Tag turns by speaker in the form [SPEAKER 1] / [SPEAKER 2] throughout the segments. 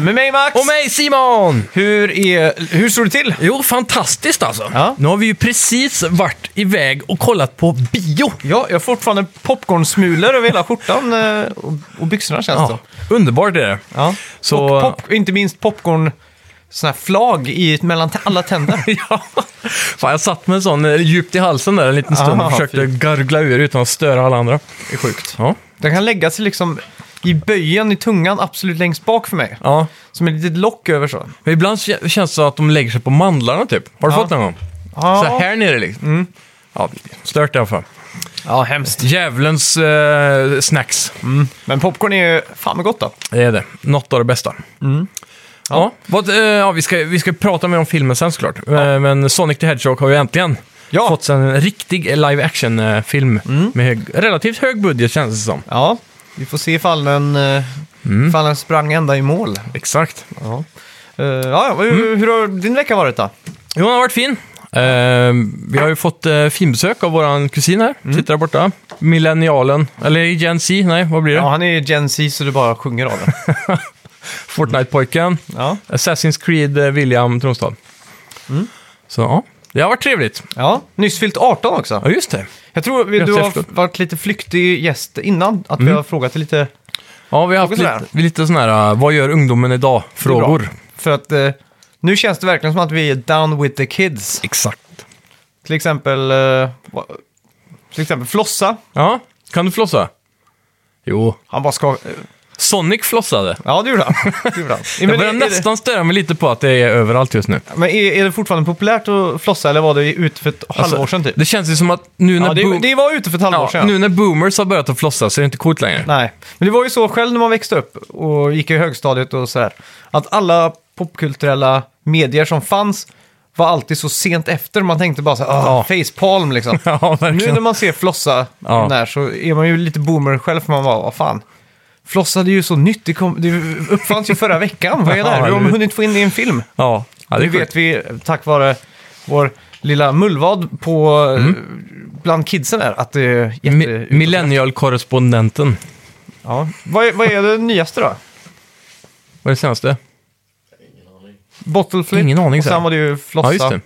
[SPEAKER 1] mig Max!
[SPEAKER 2] Och mig Simon!
[SPEAKER 1] Hur, är, hur står det till?
[SPEAKER 2] Jo, fantastiskt alltså.
[SPEAKER 1] Ja.
[SPEAKER 2] Nu har vi ju precis varit iväg och kollat på bio.
[SPEAKER 1] Ja, jag har fortfarande popcornsmulor över hela skjortan eh, och, och byxorna känns det som.
[SPEAKER 2] Underbart är det.
[SPEAKER 1] Ja.
[SPEAKER 2] Så-
[SPEAKER 1] Och pop, inte minst popcorn, sån här flag i, mellan t- alla tänder.
[SPEAKER 2] Ja. Fan, jag satt med en sån eh, djupt i halsen där en liten stund
[SPEAKER 1] Ah,
[SPEAKER 2] och försökte
[SPEAKER 1] fy.
[SPEAKER 2] gargla ur utan att störa alla andra.
[SPEAKER 1] Det är sjukt.
[SPEAKER 2] Ja.
[SPEAKER 1] Den kan lägga sig liksom i böjen i tungan absolut längst bak för mig.
[SPEAKER 2] ja.
[SPEAKER 1] Som ett litet lock över så.
[SPEAKER 2] Men ibland kä- känns det som att de lägger sig på mandlarna typ. Har du
[SPEAKER 1] Ja.
[SPEAKER 2] fått någon gång?
[SPEAKER 1] Ja, Mm.
[SPEAKER 2] Så här nere liksom. Ja, stört i alla fall.
[SPEAKER 1] ja hemskt.
[SPEAKER 2] Djävulens eh, snacks.
[SPEAKER 1] Men popcorn är ju fan vad gott då.
[SPEAKER 2] Det är det. Något av det bästa. Mm. Ja. vad, eh, ja, vi, ska, vi ska prata mer om filmen sen såklart. Eh, men Sonic the Hedgehog har ju äntligen
[SPEAKER 1] Ja.
[SPEAKER 2] fått sig en riktig live action-film med hög, relativt hög budget känns det som.
[SPEAKER 1] Ja, vi får se ifall den, eh, ifall den sprang ända i mål.
[SPEAKER 2] Exakt.
[SPEAKER 1] Ja. Eh, ja, ja, hur,
[SPEAKER 2] Mm.
[SPEAKER 1] hur har din vecka varit då?
[SPEAKER 2] Jo, den har varit fin. Eh, vi har ju fått eh, filmbesök av vår kusin här, sitter där borta. Millennialen, eller Gen Z, nej vad blir det?
[SPEAKER 1] Ja, han är ju Gen Z så det bara sjunger av det.
[SPEAKER 2] Fortnite-pojken.
[SPEAKER 1] Ja,
[SPEAKER 2] Assassin's Creed eh, William Tronstad. Mm. Så ja, det har varit trevligt.
[SPEAKER 1] ja. nyss fyllt 18 också.
[SPEAKER 2] Ja, just det.
[SPEAKER 1] Jag tror vi, du
[SPEAKER 2] Grattis,
[SPEAKER 1] har
[SPEAKER 2] förlåt.
[SPEAKER 1] varit lite flyktig gäst innan, att
[SPEAKER 2] Mm.
[SPEAKER 1] vi har frågat lite
[SPEAKER 2] Ja, vi har haft
[SPEAKER 1] Något sådär.
[SPEAKER 2] lite, lite sådana här, äh, vad gör ungdomen idag-frågor.
[SPEAKER 1] för att eh, nu känns det verkligen som att vi är down with the kids.
[SPEAKER 2] Exakt.
[SPEAKER 1] Till exempel, eh, va- till exempel Flossa,
[SPEAKER 2] Ja, kan du flossa? Jo.
[SPEAKER 1] han bara ska... eh,
[SPEAKER 2] Sonic flossade.
[SPEAKER 1] Ja, det gjorde han. Det gjorde han. Ja,
[SPEAKER 2] Jag
[SPEAKER 1] men
[SPEAKER 2] börjar
[SPEAKER 1] är, är,
[SPEAKER 2] nästan störa mig lite på att det är överallt just nu.
[SPEAKER 1] det, men är, är det fortfarande populärt att flossa eller var det ute för ett halvår sedan typ?
[SPEAKER 2] Alltså, Det känns ju som att nu när,
[SPEAKER 1] Ja, det,
[SPEAKER 2] boom-
[SPEAKER 1] det var ute för ett halvår
[SPEAKER 2] ja,
[SPEAKER 1] sedan.
[SPEAKER 2] nu när boomers har börjat att flossa så är det inte coolt längre.
[SPEAKER 1] Nej, men det var ju så själv när man växte upp och gick i högstadiet och sådär. Att alla popkulturella medier som fanns var alltid så sent efter. Man tänkte bara så här, ah, facepalm liksom.
[SPEAKER 2] Ja,
[SPEAKER 1] nu
[SPEAKER 2] verkligen.
[SPEAKER 1] när man ser Flossa
[SPEAKER 2] Ja.
[SPEAKER 1] där så är man ju lite boomer själv för man bara, vad fan. Flossa det är ju så nytt, det, kom, det uppfanns ju förra veckan. Vad är det här? Vi har hunnit få in det i en film.
[SPEAKER 2] Ja, ja det
[SPEAKER 1] Nu
[SPEAKER 2] är
[SPEAKER 1] vet
[SPEAKER 2] sjukt.
[SPEAKER 1] vi tack vare vår lilla mullvad på, eh, bland kidsen där att det är jätte...
[SPEAKER 2] Mm. Mi- Millennial-korrespondenten.
[SPEAKER 1] ja. vad, är, vad är det nyaste då?
[SPEAKER 2] Vad är det senaste?
[SPEAKER 1] Bottle flip.
[SPEAKER 2] Ingen aning,
[SPEAKER 1] Och
[SPEAKER 2] så här.
[SPEAKER 1] sen var det ju flossa.
[SPEAKER 2] Ja, just det.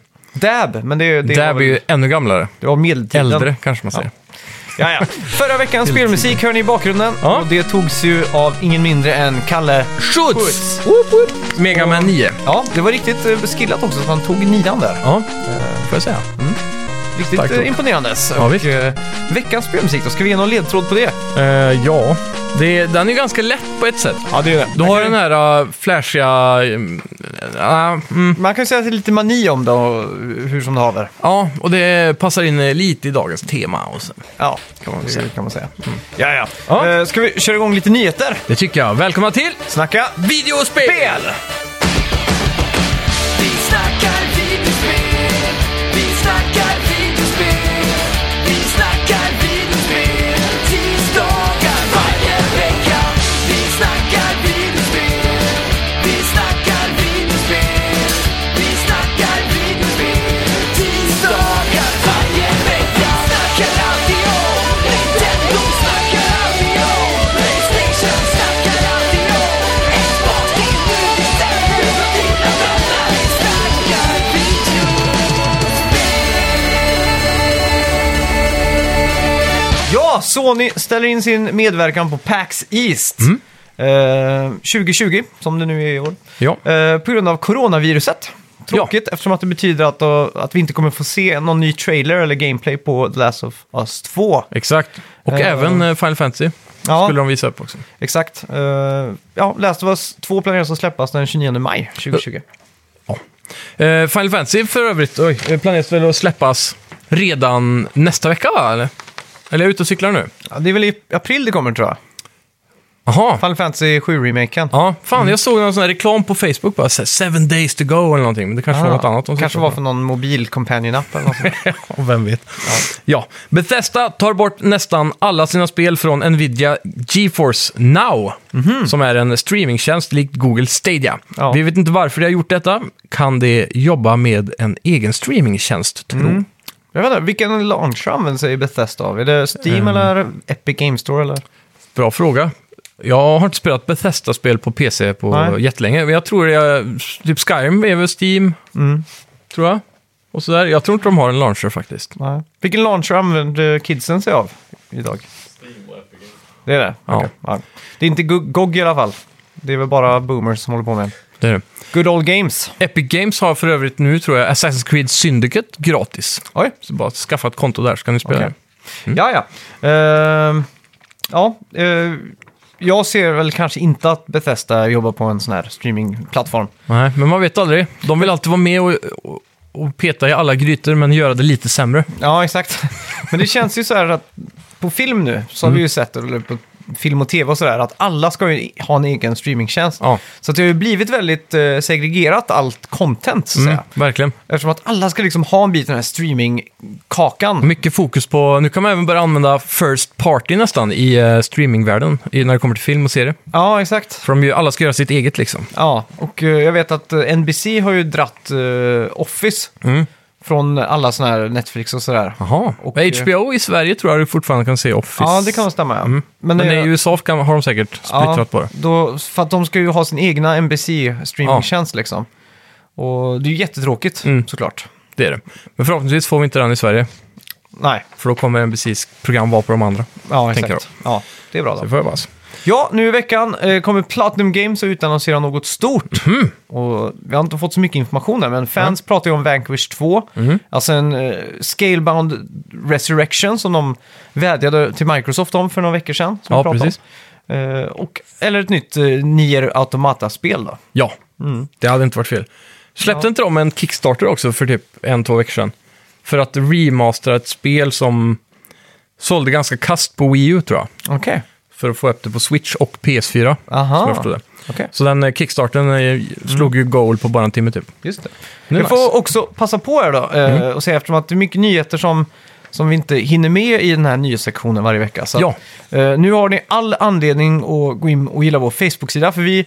[SPEAKER 1] Dab, men det, det,
[SPEAKER 2] Där
[SPEAKER 1] var,
[SPEAKER 2] blir ju ännu gamlare.
[SPEAKER 1] det var medeltiden.
[SPEAKER 2] Äldre kanske man säger.
[SPEAKER 1] Ja, ja. Förra veckans spelmusik hör ni i bakgrunden.
[SPEAKER 2] Ja.
[SPEAKER 1] Och det togs ju av ingen mindre än Kalle
[SPEAKER 2] Schutz!
[SPEAKER 1] Schutz. Woop, woop.
[SPEAKER 2] Mega Man 9.
[SPEAKER 1] Ja, det var riktigt eh, skillat också, så han tog nian där.
[SPEAKER 2] Ja, får jag säga.
[SPEAKER 1] Riktigt
[SPEAKER 2] Tack.
[SPEAKER 1] eh, imponerandes.
[SPEAKER 2] Ja,
[SPEAKER 1] Och,
[SPEAKER 2] visst.
[SPEAKER 1] eh, veckans spelmusik då, ska vi ge någon ledtråd på det?
[SPEAKER 2] Eh, ja, det, den är ju ganska lätt på ett sätt.
[SPEAKER 1] Ja, det är det.
[SPEAKER 2] Du har den här uh, flashiga... ehm, Ja, mm,
[SPEAKER 1] Man kan ju säga att det är lite mani om det, och hur som det haver.
[SPEAKER 2] ja, och det passar in eh, lite i dagens tema. Och så.
[SPEAKER 1] Ja,
[SPEAKER 2] Kan man
[SPEAKER 1] det
[SPEAKER 2] säga.
[SPEAKER 1] kan man säga.
[SPEAKER 2] Ja, ja.
[SPEAKER 1] Eh, Ska vi köra igång lite nyheter?
[SPEAKER 2] det tycker jag. Välkomna till
[SPEAKER 1] Snacka
[SPEAKER 2] videospel!
[SPEAKER 1] spel!
[SPEAKER 3] Vi snackar videospel, vi snackar videospel, vi snackar videospel tisdagar varje vecka. Vi snackar videospel, vi snackar videospel, vi snackar videospel tisdagar varje vecka. Snackar alltid om Nintendo, snackar alltid om Playstation, snackar alltid om Xbox, det är nu det stämmer för dina vänner. Vi snackar video.
[SPEAKER 1] Ja, Sony ställer in sin medverkan på PAX East.
[SPEAKER 2] Mm.
[SPEAKER 1] Eh, 2020, som det nu är i år.
[SPEAKER 2] Ja.
[SPEAKER 1] Eh, på grund av coronaviruset. Tråkigt, eftersom att det betyder att, eh, att vi inte kommer få se någon ny trailer eller gameplay på The Last of Us 2.
[SPEAKER 2] Exakt. Och
[SPEAKER 1] Eh,
[SPEAKER 2] även eh, Final Fantasy
[SPEAKER 1] Ja.
[SPEAKER 2] skulle de visa upp också.
[SPEAKER 1] Exakt. Eh, ja, Last of Us 2 planeras att släppas den 29 maj 2020.
[SPEAKER 2] Eh, Final Fantasy för övrigt oj, eh, planeras väl att släppas redan nästa vecka, va? Eller? Eller är jag ute och cyklar nu?
[SPEAKER 1] Ja, det är väl i april det kommer, tror jag.
[SPEAKER 2] Jaha.
[SPEAKER 1] Final Fantasy 7-remaken.
[SPEAKER 2] Ja, fan
[SPEAKER 1] Mm.
[SPEAKER 2] jag såg någon sån här reklam på Facebook bara, så här, seven days to go eller någonting. Men det kanske var något annat de
[SPEAKER 1] Ah, kanske
[SPEAKER 2] syftade
[SPEAKER 1] var
[SPEAKER 2] på.
[SPEAKER 1] för någon mobil companion app eller något sånt.
[SPEAKER 2] Och vem vet. Ja. Bethesda tar bort nästan alla sina spel från Nvidia GeForce Now, som är en streamingtjänst likt Google Stadia.
[SPEAKER 1] Mhm. Ja.
[SPEAKER 2] Vi vet inte varför de har gjort detta. Kan de jobba med en egen streamingtjänst, tro?
[SPEAKER 1] Mm. Jag vet inte, vilken launcher använder sig Bethesda av? Är det Steam eller Epic Games Store eller?
[SPEAKER 2] Bra fråga. Jag har inte spelat Bethesda-spel på PC på
[SPEAKER 1] Nej.
[SPEAKER 2] jättelänge. Men jag tror jag, typ Skyrim är väl Steam,
[SPEAKER 1] Mm.
[SPEAKER 2] tror jag. Och sådär. Jag tror inte de har en launcher faktiskt.
[SPEAKER 1] Nej. Vilken launcher använder kidsen sig av idag? Det är det?
[SPEAKER 2] Ja.
[SPEAKER 1] Okej. Ja. Det är inte Go- GOG i alla fall. Det är väl bara boomers som håller på med
[SPEAKER 2] Det är det.
[SPEAKER 1] Good old games.
[SPEAKER 2] Epic Games har för övrigt nu, tror jag, Assassin's Creed Syndicate gratis.
[SPEAKER 1] Oj,
[SPEAKER 2] Så bara skaffa ett konto där så kan ni spela
[SPEAKER 1] Okej.
[SPEAKER 2] det.
[SPEAKER 1] Ja, ja. Ehm, ja eh, jag ser väl kanske inte att Bethesda jobbar på en sån här streamingplattform.
[SPEAKER 2] Nej, men man vet aldrig. De vill alltid vara med och, och, och peta i alla grytor, men göra det lite sämre.
[SPEAKER 1] Ja, exakt. Men det känns ju så här att på film nu så har
[SPEAKER 2] Mm.
[SPEAKER 1] vi ju sett, eller på film och tv och sådär, att alla ska ju ha en egen streamingtjänst.
[SPEAKER 2] Ja,
[SPEAKER 1] Så att det har ju blivit väldigt eh, segregerat allt content, så att
[SPEAKER 2] mm,
[SPEAKER 1] säga.
[SPEAKER 2] verkligen.
[SPEAKER 1] Eftersom att alla ska liksom ha en bit av den här streamingkakan.
[SPEAKER 2] Mycket fokus på... Nu kan man även börja använda first party nästan i eh, streamingvärlden, i, när det kommer till film och serie.
[SPEAKER 1] Ja, exakt.
[SPEAKER 2] För de, ju- alla ska göra sitt eget liksom.
[SPEAKER 1] Ja, och eh, jag vet att eh, NBC har ju dratt eh, Office
[SPEAKER 2] Mm.
[SPEAKER 1] från alla sådana här Netflix och sådär.
[SPEAKER 2] Jaha.
[SPEAKER 1] Och,
[SPEAKER 2] Men HBO i Sverige tror jag du fortfarande kan se Office.
[SPEAKER 1] Ja, det kan stämma. Ja.
[SPEAKER 2] Mm. Men,
[SPEAKER 1] det-
[SPEAKER 2] i USA kan, har de säkert splittrat på det.
[SPEAKER 1] Då, för att de ska ju ha sin egna NBC-streamingtjänst liksom. Och det är ju jättetråkigt,
[SPEAKER 2] Mm.
[SPEAKER 1] såklart.
[SPEAKER 2] Det är det. Men förhoppningsvis får vi inte den i Sverige,
[SPEAKER 1] Nej,
[SPEAKER 2] för då kommer NBCs program vara på de andra.
[SPEAKER 1] ja
[SPEAKER 2] Tänker
[SPEAKER 1] exakt. Ja, det är bra
[SPEAKER 2] Det
[SPEAKER 1] då.
[SPEAKER 2] får jag hoppas.
[SPEAKER 1] Ja, nu i veckan eh, kommer Platinum Games att utannonsera något stort.
[SPEAKER 2] Mhm.
[SPEAKER 1] Och vi har inte fått så mycket information där, men fans pratar ju om Vanquish 2.
[SPEAKER 2] Mhm.
[SPEAKER 1] Alltså en eh, Scalebound Resurrection som de vädjade till Microsoft om för några veckor sedan. Som
[SPEAKER 2] Ja,
[SPEAKER 1] vi pratade om.
[SPEAKER 2] precis.
[SPEAKER 1] Eh, och, eller ett nytt eh, Nier Automata-spel då.
[SPEAKER 2] Ja,
[SPEAKER 1] Mm.
[SPEAKER 2] det hade inte varit fel. Släppte inte de en Kickstarter också för typ en, två veckor sedan? För att remastera ett spel som sålde ganska kast på Wii U tror jag.
[SPEAKER 1] Okej.
[SPEAKER 2] För att få upp det på Switch och PS4.
[SPEAKER 1] Aha. Mm.
[SPEAKER 2] Som jag förstod det.
[SPEAKER 1] Okej.
[SPEAKER 2] Så den eh, Kickstartern eh, slog ju goal på bara en timme typ.
[SPEAKER 1] Just det.
[SPEAKER 2] Det är
[SPEAKER 1] Jag får
[SPEAKER 2] nice. Mm.
[SPEAKER 1] också passa på här då eh, och säga eftersom att det är mycket nyheter som, som vi inte hinner med i den här nyhetssektionen varje vecka. Så
[SPEAKER 2] Ja.
[SPEAKER 1] att, eh, nu har ni all anledning att gå in och gilla vår Facebook-sida för vi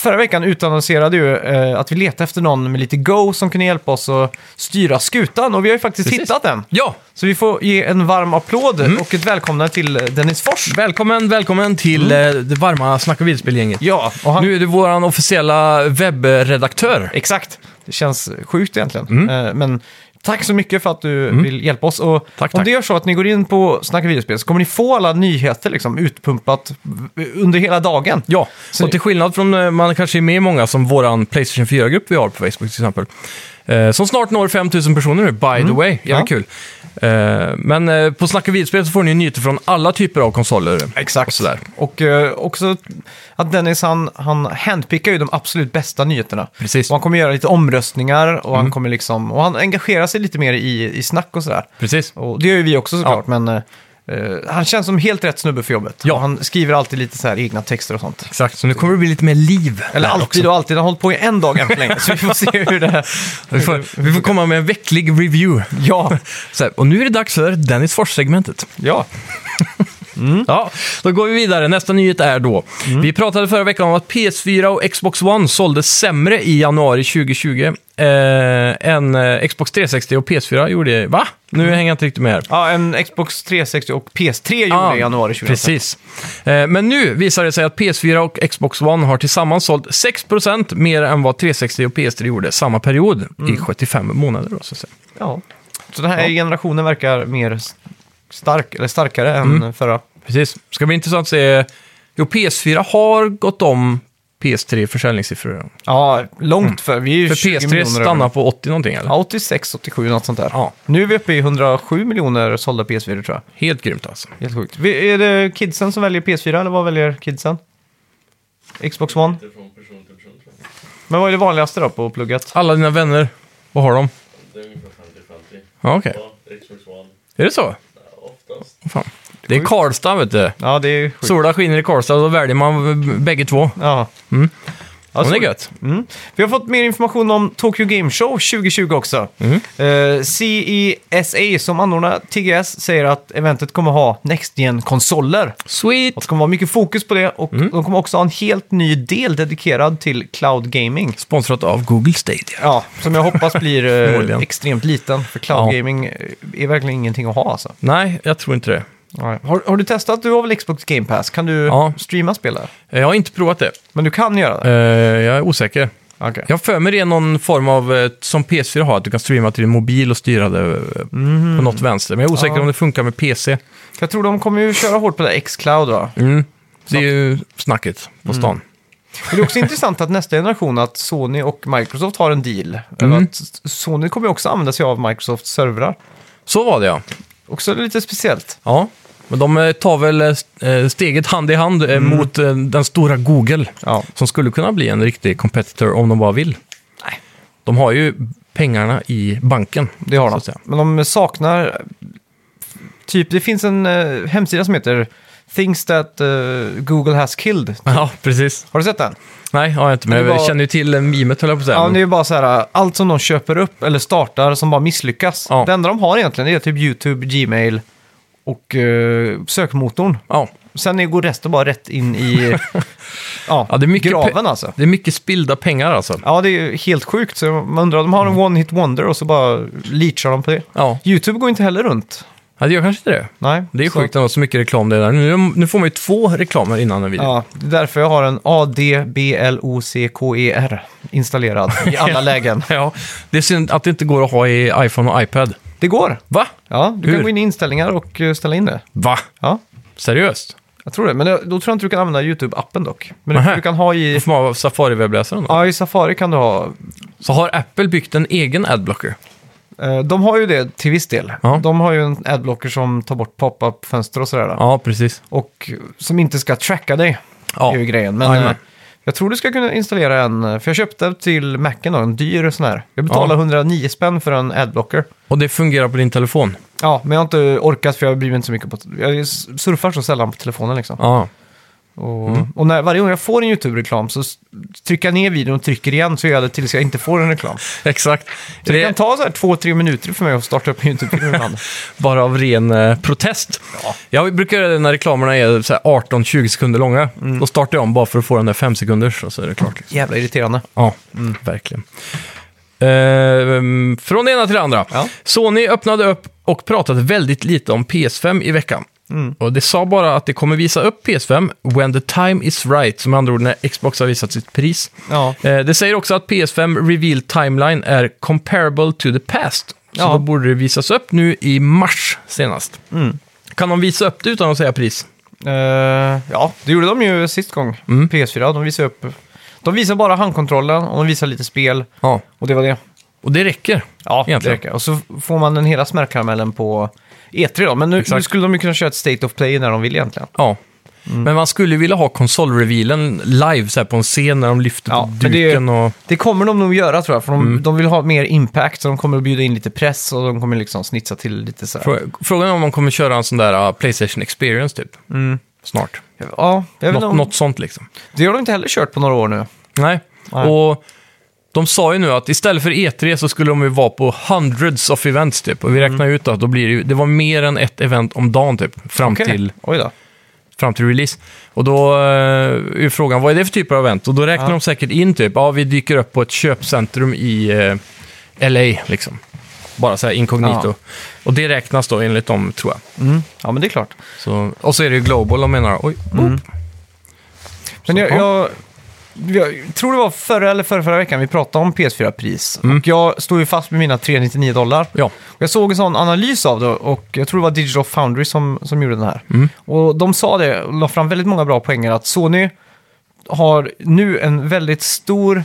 [SPEAKER 1] Förra veckan utannonserade ju eh, att vi letade efter någon med lite go som kunde hjälpa oss att styra skutan och vi har ju faktiskt
[SPEAKER 2] Precis. Mm.
[SPEAKER 1] hittat den.
[SPEAKER 2] Ja,
[SPEAKER 1] Så vi får ge en varm applåd och ett välkomnande till eh, Dennis Fors.
[SPEAKER 2] välkommen, välkommen till eh, det varma Snacka videospel-gänget.
[SPEAKER 1] Mm. Ja, och han,
[SPEAKER 2] Nu är du vår officiella webbredaktör.
[SPEAKER 1] Exakt. Det känns sjukt egentligen.
[SPEAKER 2] Mm.
[SPEAKER 1] Eh, Men tack så mycket för att du vill hjälpa oss. Och
[SPEAKER 2] Tack,
[SPEAKER 1] om
[SPEAKER 2] tack.
[SPEAKER 1] det gör så att ni går in på Snacka videospel så kommer ni få alla nyheter liksom, utpumpat v- under hela dagen.
[SPEAKER 2] Ja,
[SPEAKER 1] Så-
[SPEAKER 2] och till skillnad från eh, man kanske är med i många som våran Playstation 4-grupp vi har på Facebook till exempel. Eh, som snart når 5000 personer nu, by the way. Jävligt
[SPEAKER 1] Mm. Ja.
[SPEAKER 2] kul. Eh, men eh, på Snacka videospel så får ni ju nyheter från alla typer av konsoler.
[SPEAKER 1] Exakt.
[SPEAKER 2] Och sådär.
[SPEAKER 1] Och eh, också att Dennis han, han handpickar ju de absolut bästa nyheterna.
[SPEAKER 2] Precis. Mm.
[SPEAKER 1] Och han kommer göra lite omröstningar och, han kommer liksom, och han engagerar sig lite mer i, i snack och sådär.
[SPEAKER 2] Precis.
[SPEAKER 1] Och det gör ju vi också såklart, men eh, eh, han känns som helt rätt snubbe för jobbet.
[SPEAKER 2] Ja.
[SPEAKER 1] Och Han skriver alltid lite så här egna texter och sånt.
[SPEAKER 2] Exakt, så nu kommer det bli lite mer liv.
[SPEAKER 1] Eller
[SPEAKER 2] där
[SPEAKER 1] alltid
[SPEAKER 2] också.
[SPEAKER 1] och alltid. Han har hållit på i en dag än för länge, så vi får se hur det...
[SPEAKER 2] Vi får, vi får komma med en vecklig review.
[SPEAKER 1] Ja,
[SPEAKER 2] Så här, och nu är det dags för Dennis Fors-segmentet.
[SPEAKER 1] ja.
[SPEAKER 2] Ja, då går vi vidare. Nästa nyhet är då. Vi pratade förra veckan om att PS4 och Xbox One såldes sämre i januari 2020 eh, än eh, Xbox 360 och PS4 gjorde. Va? Nu
[SPEAKER 1] Mm.
[SPEAKER 2] hänger jag inte riktigt med här.
[SPEAKER 1] ja, en Xbox 360 och PS3 gjorde
[SPEAKER 2] Ah,
[SPEAKER 1] det i januari 2015.
[SPEAKER 2] Precis. Eh, Men nu visar det sig att PS4 och Xbox One har tillsammans sålt 6% mer än vad 360 och PS3 gjorde samma period i
[SPEAKER 1] Mm.
[SPEAKER 2] 75 månader. Då, så att säga.
[SPEAKER 1] Ja. Så den här generationen verkar mer s- stark, eller starkare än
[SPEAKER 2] Mm.
[SPEAKER 1] förra.
[SPEAKER 2] Precis. Ska bli intressant att se. Jo, PS4 har gått om PS3 försäljningssiffror.
[SPEAKER 1] Ja, långt för. Vi är ju
[SPEAKER 2] Mm. För
[SPEAKER 1] 20
[SPEAKER 2] PS3
[SPEAKER 1] miljoner över.
[SPEAKER 2] stannar på 80 någonting eller?
[SPEAKER 1] Ja, 86, 87, något sånt där.
[SPEAKER 2] Ja.
[SPEAKER 1] Nu är vi uppe i 107 miljoner sålda PS4 tror jag.
[SPEAKER 2] Helt grymt alltså.
[SPEAKER 1] Helt sjukt. Vi- Är det kidsen som väljer PS4 eller vad väljer kidsen? Xbox One?
[SPEAKER 4] Lite från person till person tror jag.
[SPEAKER 1] Men vad är det vanligaste då på plugget?
[SPEAKER 2] Alla dina vänner, vad har de?
[SPEAKER 4] Det är ungefär 50-50.
[SPEAKER 2] Ja, okej.
[SPEAKER 4] Ja, Xbox One.
[SPEAKER 2] Är det så?
[SPEAKER 4] Ja, oftast.
[SPEAKER 2] Fan. Det är Karlstad vet du.
[SPEAKER 1] Ja, det är sjukt.
[SPEAKER 2] Sola skiner i Karlstad och då väljer man b- bägge två.
[SPEAKER 1] Ja. Ja,
[SPEAKER 2] Ja, det
[SPEAKER 1] så-
[SPEAKER 2] Mm. är gött.
[SPEAKER 1] Mm. Vi har fått mer information om Tokyo Game Show 2020 också.
[SPEAKER 2] Mm.
[SPEAKER 1] Eh, CESA som anordnar TGS säger att eventet kommer ha Next Gen-konsoler.
[SPEAKER 2] Sweet!
[SPEAKER 1] Och Det kommer vara mycket fokus på det och
[SPEAKER 2] Mm.
[SPEAKER 1] de kommer också ha en helt ny del dedikerad till cloud gaming.
[SPEAKER 2] Sponsrat av Google Stadia.
[SPEAKER 1] Ja, som jag hoppas blir eh,
[SPEAKER 2] Förmodligen.
[SPEAKER 1] extremt liten, för cloud
[SPEAKER 2] Ja.
[SPEAKER 1] gaming eh, är verkligen ingenting att ha alltså.
[SPEAKER 2] Nej, jag tror inte det.
[SPEAKER 1] Nej. Har, har du testat? Du har väl Xbox Game Pass? Kan du
[SPEAKER 2] Ja.
[SPEAKER 1] streama spel där?
[SPEAKER 2] Eh, Jag har inte provat det.
[SPEAKER 1] Men du kan göra
[SPEAKER 2] Eh,
[SPEAKER 1] det?
[SPEAKER 2] Jag är osäker.
[SPEAKER 1] Okej.
[SPEAKER 2] Jag har för mig det är någon form av, eh, som PS4 har, att du kan streama till din mobil och styra det eh, på något vänster. Men jag är osäker
[SPEAKER 1] Ja.
[SPEAKER 2] om det funkar med PC.
[SPEAKER 1] Jag tror de kommer ju köra hårt på det här X-Cloud va?
[SPEAKER 2] Mm. Det är ju snacket på
[SPEAKER 1] Mm.
[SPEAKER 2] stan.
[SPEAKER 1] Men det är också intressant att nästa generation, att Sony och Microsoft har en deal.
[SPEAKER 2] Mm.
[SPEAKER 1] Att Sony kommer ju också använda sig av Microsofts servrar.
[SPEAKER 2] Så var det ja.
[SPEAKER 1] Också lite speciellt.
[SPEAKER 2] Ja, men de eh, tar väl eh, st- eh, steget hand i hand eh, mot eh, den stora Google.
[SPEAKER 1] Mm. Ja.
[SPEAKER 2] Som skulle kunna bli en riktig competitor om de bara vill.
[SPEAKER 1] Nej.
[SPEAKER 2] De har ju pengarna i banken.
[SPEAKER 1] Det har
[SPEAKER 2] så
[SPEAKER 1] de.
[SPEAKER 2] att säga.
[SPEAKER 1] Men de saknar... Typ, det finns en eh, hemsida som heter Things that eh, Google has killed.
[SPEAKER 2] Ja, precis.
[SPEAKER 1] Har du sett den?
[SPEAKER 2] Nej, har jag inte, men
[SPEAKER 1] Men det
[SPEAKER 2] jag
[SPEAKER 1] var-
[SPEAKER 2] känner ju till eh, memet höll jag på att säga.
[SPEAKER 1] Ja,
[SPEAKER 2] Men-
[SPEAKER 1] det är ju bara så här, allt som de köper upp eller startar som bara misslyckas.
[SPEAKER 2] Ja.
[SPEAKER 1] Det enda de har egentligen är typ YouTube, Gmail och eh, sökmotorn.
[SPEAKER 2] ja.
[SPEAKER 1] Sen är- går resten bara rätt in i ja,
[SPEAKER 2] Ja, det är mycket
[SPEAKER 1] graven
[SPEAKER 2] pe-
[SPEAKER 1] alltså.
[SPEAKER 2] Det är mycket spillda pengar alltså.
[SPEAKER 1] Ja, det är ju helt sjukt. Så man undrar, de har
[SPEAKER 2] Mm.
[SPEAKER 1] en one-hit wonder och så bara leachar de på det.
[SPEAKER 2] Ja,
[SPEAKER 1] YouTube går inte heller runt.
[SPEAKER 2] ja det gör kanske inte det.
[SPEAKER 1] Nej,
[SPEAKER 2] Det är
[SPEAKER 1] så-
[SPEAKER 2] sjukt ändå, så mycket reklam det är där. Nu, nu får man ju två reklamer innan en video.
[SPEAKER 1] Ja, det är därför jag har en ADBLOCKER E installerad i alla lägen.
[SPEAKER 2] ja, det är synd att det inte går att ha i iPhone och iPad.
[SPEAKER 1] Det går.
[SPEAKER 2] Va?
[SPEAKER 1] Ja, du
[SPEAKER 2] Hur?
[SPEAKER 1] kan gå in i inställningar och eh, ställa in det.
[SPEAKER 2] Va?
[SPEAKER 1] Ja,
[SPEAKER 2] Seriöst?
[SPEAKER 1] jag tror det. Men jag- då tror jag inte du kan använda YouTube-appen dock. Men
[SPEAKER 2] Nähä.
[SPEAKER 1] du, du kan ha
[SPEAKER 2] I
[SPEAKER 1] i...
[SPEAKER 2] form av Safari-webbläsaren då?
[SPEAKER 1] Ja, i Safari kan du ha...
[SPEAKER 2] Så har Apple byggt en egen adblocker?
[SPEAKER 1] eh, De har ju det till viss del.
[SPEAKER 2] Ja.
[SPEAKER 1] De har ju en adblocker som tar bort pop-up-fönster och sådär.
[SPEAKER 2] Ja, precis.
[SPEAKER 1] Och som inte ska tracka dig.
[SPEAKER 2] Ja.
[SPEAKER 1] är ju grejen. Men
[SPEAKER 2] Jajamän.
[SPEAKER 1] eh, jag tror du ska kunna installera en, eh, för jag köpte till Macen då, en dyr sån här. Jag betalade
[SPEAKER 2] Ja.
[SPEAKER 1] 109 spänn för en adblocker.
[SPEAKER 2] Och det fungerar på din telefon?
[SPEAKER 1] Ja, men jag har inte orkat för jag bryr mig inte så mycket på... Jag surfar så sällan på telefonen liksom.
[SPEAKER 2] Ja. Mm.
[SPEAKER 1] Och, och när, varje gång jag får en YouTube-reklam så s- trycker jag ner videon och trycker igen så gör jag det tills jag inte får en reklam.
[SPEAKER 2] Exakt.
[SPEAKER 1] Så det,
[SPEAKER 2] Det är
[SPEAKER 1] kan ta så här två, tre minuter för mig att starta upp en YouTube-film ibland.
[SPEAKER 2] bara av ren eh, protest. Jag brukar göra det när reklamerna är så här 18-20 sekunder långa. Då startar jag om bara för att få den där 5 sekunders och så är det klart. liksom.
[SPEAKER 1] Jävla irriterande.
[SPEAKER 2] Ja,
[SPEAKER 1] Mm.
[SPEAKER 2] verkligen. Ehm, från det ena till det andra.
[SPEAKER 1] Ja.
[SPEAKER 2] Sony öppnade upp och pratade väldigt lite om PS5 i veckan.
[SPEAKER 1] Mm.
[SPEAKER 2] Och det sa bara att det kommer visa upp PS5 when the time is right, som med andra ord när Xbox har visat sitt pris.
[SPEAKER 1] Ja.
[SPEAKER 2] Eh, det säger också att PS5 Reveal Timeline är comparable to the past. Så
[SPEAKER 1] Ja.
[SPEAKER 2] då borde det visas upp nu i mars senast.
[SPEAKER 1] Mm.
[SPEAKER 2] Kan de visa upp det utan att säga pris?
[SPEAKER 1] Eh, ja, det gjorde de ju sist gång.
[SPEAKER 2] Mm.
[SPEAKER 1] PS4, de visade upp... De visar bara handkontrollen och de visar lite spel.
[SPEAKER 2] Ja.
[SPEAKER 1] Och det var det.
[SPEAKER 2] Och det räcker.
[SPEAKER 1] Ja,
[SPEAKER 2] Egentligen.
[SPEAKER 1] det räcker. Och så får man den hela smällkaramellen på E3 då. Men nu, nu skulle de ju kunna köra ett State of Play när de vill egentligen.
[SPEAKER 2] Ja.
[SPEAKER 1] Mm.
[SPEAKER 2] Men man skulle vilja ha konsolrevealen live så här på en scen när de lyfter
[SPEAKER 1] Ja,
[SPEAKER 2] på
[SPEAKER 1] men det är-
[SPEAKER 2] duken och...
[SPEAKER 1] Det kommer de nog göra tror jag, för de,
[SPEAKER 2] Mm.
[SPEAKER 1] de vill ha mer impact. Så de kommer att bjuda in lite press och de kommer liksom snitsa till lite så här.
[SPEAKER 2] Frå- Frågan är om de kommer köra en sån där ah, Playstation Experience typ. Snart.
[SPEAKER 1] Ja, Mm. jag vet
[SPEAKER 2] Nå-
[SPEAKER 1] inte om,
[SPEAKER 2] Något sånt liksom.
[SPEAKER 1] Det har de inte heller kört på några år nu.
[SPEAKER 2] Nej.
[SPEAKER 1] Nej.
[SPEAKER 2] Och de sa ju nu att istället för E3 så skulle de ju vara på hundreds of events typ. Och vi räknar
[SPEAKER 1] Mm.
[SPEAKER 2] ut att då blir det ju, det var mer än ett event om dagen typ. Fram,
[SPEAKER 1] Okej.
[SPEAKER 2] till,
[SPEAKER 1] Oj då.
[SPEAKER 2] fram till release. Och då eh, är ju frågan, vad är det för typ av event? Och då räknar
[SPEAKER 1] Ja.
[SPEAKER 2] de säkert in typ, ja vi dyker upp på ett köpcentrum i eh, LA liksom. Bara så här inkognito.
[SPEAKER 1] Ja.
[SPEAKER 2] Och det räknas då enligt dem tror jag.
[SPEAKER 1] Ja, men det är klart.
[SPEAKER 2] Så, och så är det ju Global de menar. Oj, oh,
[SPEAKER 1] Mm.
[SPEAKER 2] boop.
[SPEAKER 1] Men jag,
[SPEAKER 2] Jaha.
[SPEAKER 1] jag, jag tror det var förra eller förra, förra veckan vi pratade om PS4-pris. Och jag stod ju fast med mina 399 dollar.
[SPEAKER 2] Ja.
[SPEAKER 1] Och Jag såg en sån analys av det och jag tror det var Digital Foundry som, som gjorde den här. Och de sa det och la fram väldigt många bra poänger att Sony har nu en väldigt stor,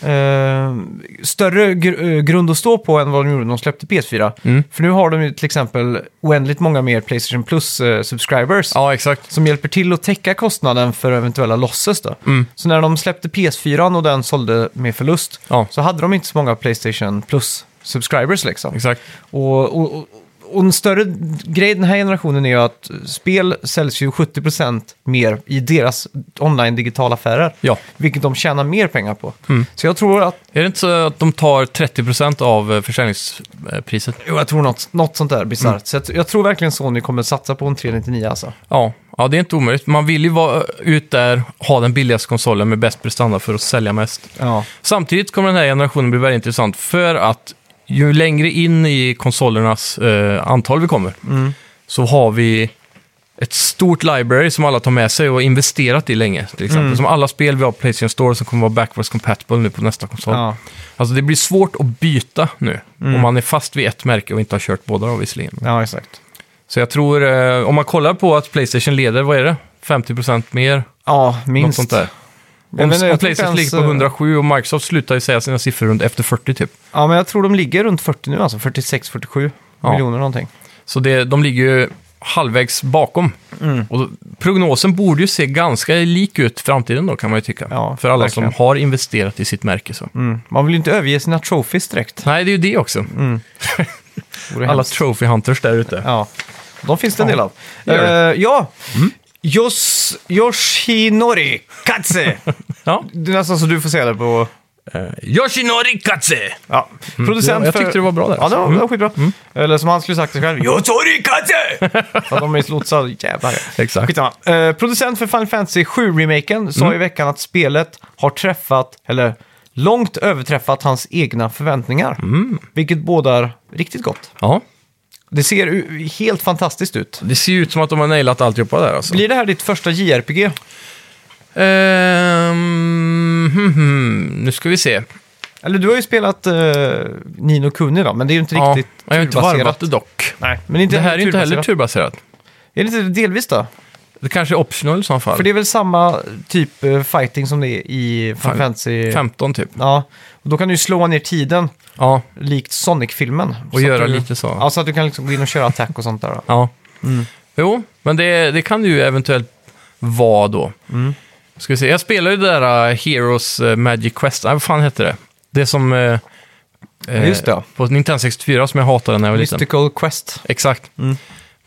[SPEAKER 1] eh, större gr- eh, grund att stå på än vad de gjorde när de släppte PS4. För nu har de ju till exempel oändligt många mer Playstation eh, Plus-subscribers
[SPEAKER 2] ja, exakt.
[SPEAKER 1] som hjälper till att täcka kostnaden för eventuella losses. Då.
[SPEAKER 2] Mm.
[SPEAKER 1] Så när de släppte PS4 och den sålde med förlust
[SPEAKER 2] Ja.
[SPEAKER 1] så hade de inte så många Playstation Plus-subscribers. Liksom.
[SPEAKER 2] Exakt.
[SPEAKER 1] Och, och, och- och en större grej den här generationen är ju att spel säljs ju 70% mer i deras online digitala affärer.
[SPEAKER 2] Ja. Mm.
[SPEAKER 1] Vilket de tjänar mer pengar på. Så jag tror att,
[SPEAKER 2] Är det inte så att de tar 30% av eh, försäljningspriset?
[SPEAKER 1] jo, jag tror något, något sånt där bisarrt.
[SPEAKER 2] Mm.
[SPEAKER 1] Så jag, jag tror verkligen Sony kommer satsa på en 399 alltså.
[SPEAKER 2] Ja. ja, det är inte omöjligt. Man vill ju vara ut där, ha den billigaste konsolen med bäst prestanda för att sälja mest.
[SPEAKER 1] Ja.
[SPEAKER 2] Samtidigt kommer den här generationen bli väldigt intressant för att
[SPEAKER 1] Mm.
[SPEAKER 2] ju längre in i konsolernas eh, antal vi kommer så har vi ett stort library som alla tar med sig och har investerat i länge. Till exempel.
[SPEAKER 1] Mm.
[SPEAKER 2] Som alla spel vi har på Playstation Store som kommer vara backwards compatible nu på nästa konsol.
[SPEAKER 1] Ja. Mm.
[SPEAKER 2] Alltså det blir svårt att byta nu. Om man är fast vid ett märke och inte har kört båda då visserligen.
[SPEAKER 1] ja, exakt.
[SPEAKER 2] Så jag tror, eh, om man kollar på att Playstation leder, vad är det? 50% mer?
[SPEAKER 1] Ja,
[SPEAKER 2] Något
[SPEAKER 1] minst.
[SPEAKER 2] sånt där.
[SPEAKER 1] Jag
[SPEAKER 2] Om,
[SPEAKER 1] vet inte, jag
[SPEAKER 2] om
[SPEAKER 1] tror inte
[SPEAKER 2] Playstation
[SPEAKER 1] ens, eh,
[SPEAKER 2] ligger på 107 och Microsoft slutar ju säga sina siffror runt efter 40 typ.
[SPEAKER 1] Ja, men jag tror de ligger runt 40 nu, alltså 46-47
[SPEAKER 2] Ja.
[SPEAKER 1] miljoner någonting.
[SPEAKER 2] Så det, de ligger ju halvvägs bakom.
[SPEAKER 1] Mm.
[SPEAKER 2] Och prognosen borde ju se ganska lik ut i framtiden då kan man ju tycka.
[SPEAKER 1] Ja,
[SPEAKER 2] För alla
[SPEAKER 1] verkligen.
[SPEAKER 2] som har investerat i sitt märke. Så.
[SPEAKER 1] Mm. Man vill ju inte överge sina trophies direkt.
[SPEAKER 2] Nej, det är ju det också.
[SPEAKER 1] Mm. Vore
[SPEAKER 2] Alla
[SPEAKER 1] hemskt.
[SPEAKER 2] trophy hunters där ute.
[SPEAKER 1] Ja, de finns det en del av.
[SPEAKER 2] det gör det. Mm.
[SPEAKER 1] Eh, ja, Yos, Yoshinori Katse.
[SPEAKER 2] Ja.
[SPEAKER 1] det är nästan så du får säga det på...
[SPEAKER 2] Eh, Yoshinori Katse!
[SPEAKER 1] Ja. Producent
[SPEAKER 2] Ja, Mm, jag
[SPEAKER 1] för-
[SPEAKER 2] tyckte det var bra där,
[SPEAKER 1] Ja, det
[SPEAKER 2] alltså.
[SPEAKER 1] var, det var skitbra. Eller som han skulle sagt det själv, Yotori Katse! För de är slotsade, jävlar.
[SPEAKER 2] Exakt. Mm.
[SPEAKER 1] Skitsamma. Eh, producent för Final Fantasy 7-remaken sa i veckan att spelet har träffat, eller långt överträffat hans egna förväntningar.
[SPEAKER 2] Mm.
[SPEAKER 1] Vilket bådar riktigt gott.
[SPEAKER 2] Ja,
[SPEAKER 1] Det ser u- helt fantastiskt ut.
[SPEAKER 2] det ser ju ut som att de har nailat alltihopa där alltså.
[SPEAKER 1] Blir det här ditt första JRPG?
[SPEAKER 2] Ehm, hmm, hmm. Nu ska vi se.
[SPEAKER 1] Eller du har ju spelat eh, Nino Kuni då, men det är ju inte
[SPEAKER 2] Ja,
[SPEAKER 1] riktigt
[SPEAKER 2] jag har inte
[SPEAKER 1] turbaserat.
[SPEAKER 2] varvat det dock.
[SPEAKER 1] Nej, men inte
[SPEAKER 2] Det här är ju inte heller
[SPEAKER 1] turbaserat.
[SPEAKER 2] turbaserat.
[SPEAKER 1] Är det inte delvis då?
[SPEAKER 2] Det kanske är optional i så fall.
[SPEAKER 1] För det är väl samma typ eh, fighting som det är i Final
[SPEAKER 2] Fem-
[SPEAKER 1] Fantasy?
[SPEAKER 2] 15 typ.
[SPEAKER 1] Ja, och då kan du ju slå ner tiden
[SPEAKER 2] Ja,
[SPEAKER 1] likt Sonic-filmen.
[SPEAKER 2] och
[SPEAKER 1] Så
[SPEAKER 2] göra
[SPEAKER 1] att du,
[SPEAKER 2] lite så.
[SPEAKER 1] Ja, så att du kan liksom gå in och köra attack och sånt där. Då.
[SPEAKER 2] Ja.
[SPEAKER 1] Mm.
[SPEAKER 2] Jo, men det, det kan det ju eventuellt vara då.
[SPEAKER 1] Mm.
[SPEAKER 2] Ska vi se. Jag spelar ju det där eh, Heroes eh, Magic Quest, nej vad fan hette det? Det som... eh, eh,
[SPEAKER 1] Just det, ja.
[SPEAKER 2] På Nintendo 64 som jag hatade när jag var liten.
[SPEAKER 1] Mystical Quest.
[SPEAKER 2] Exakt.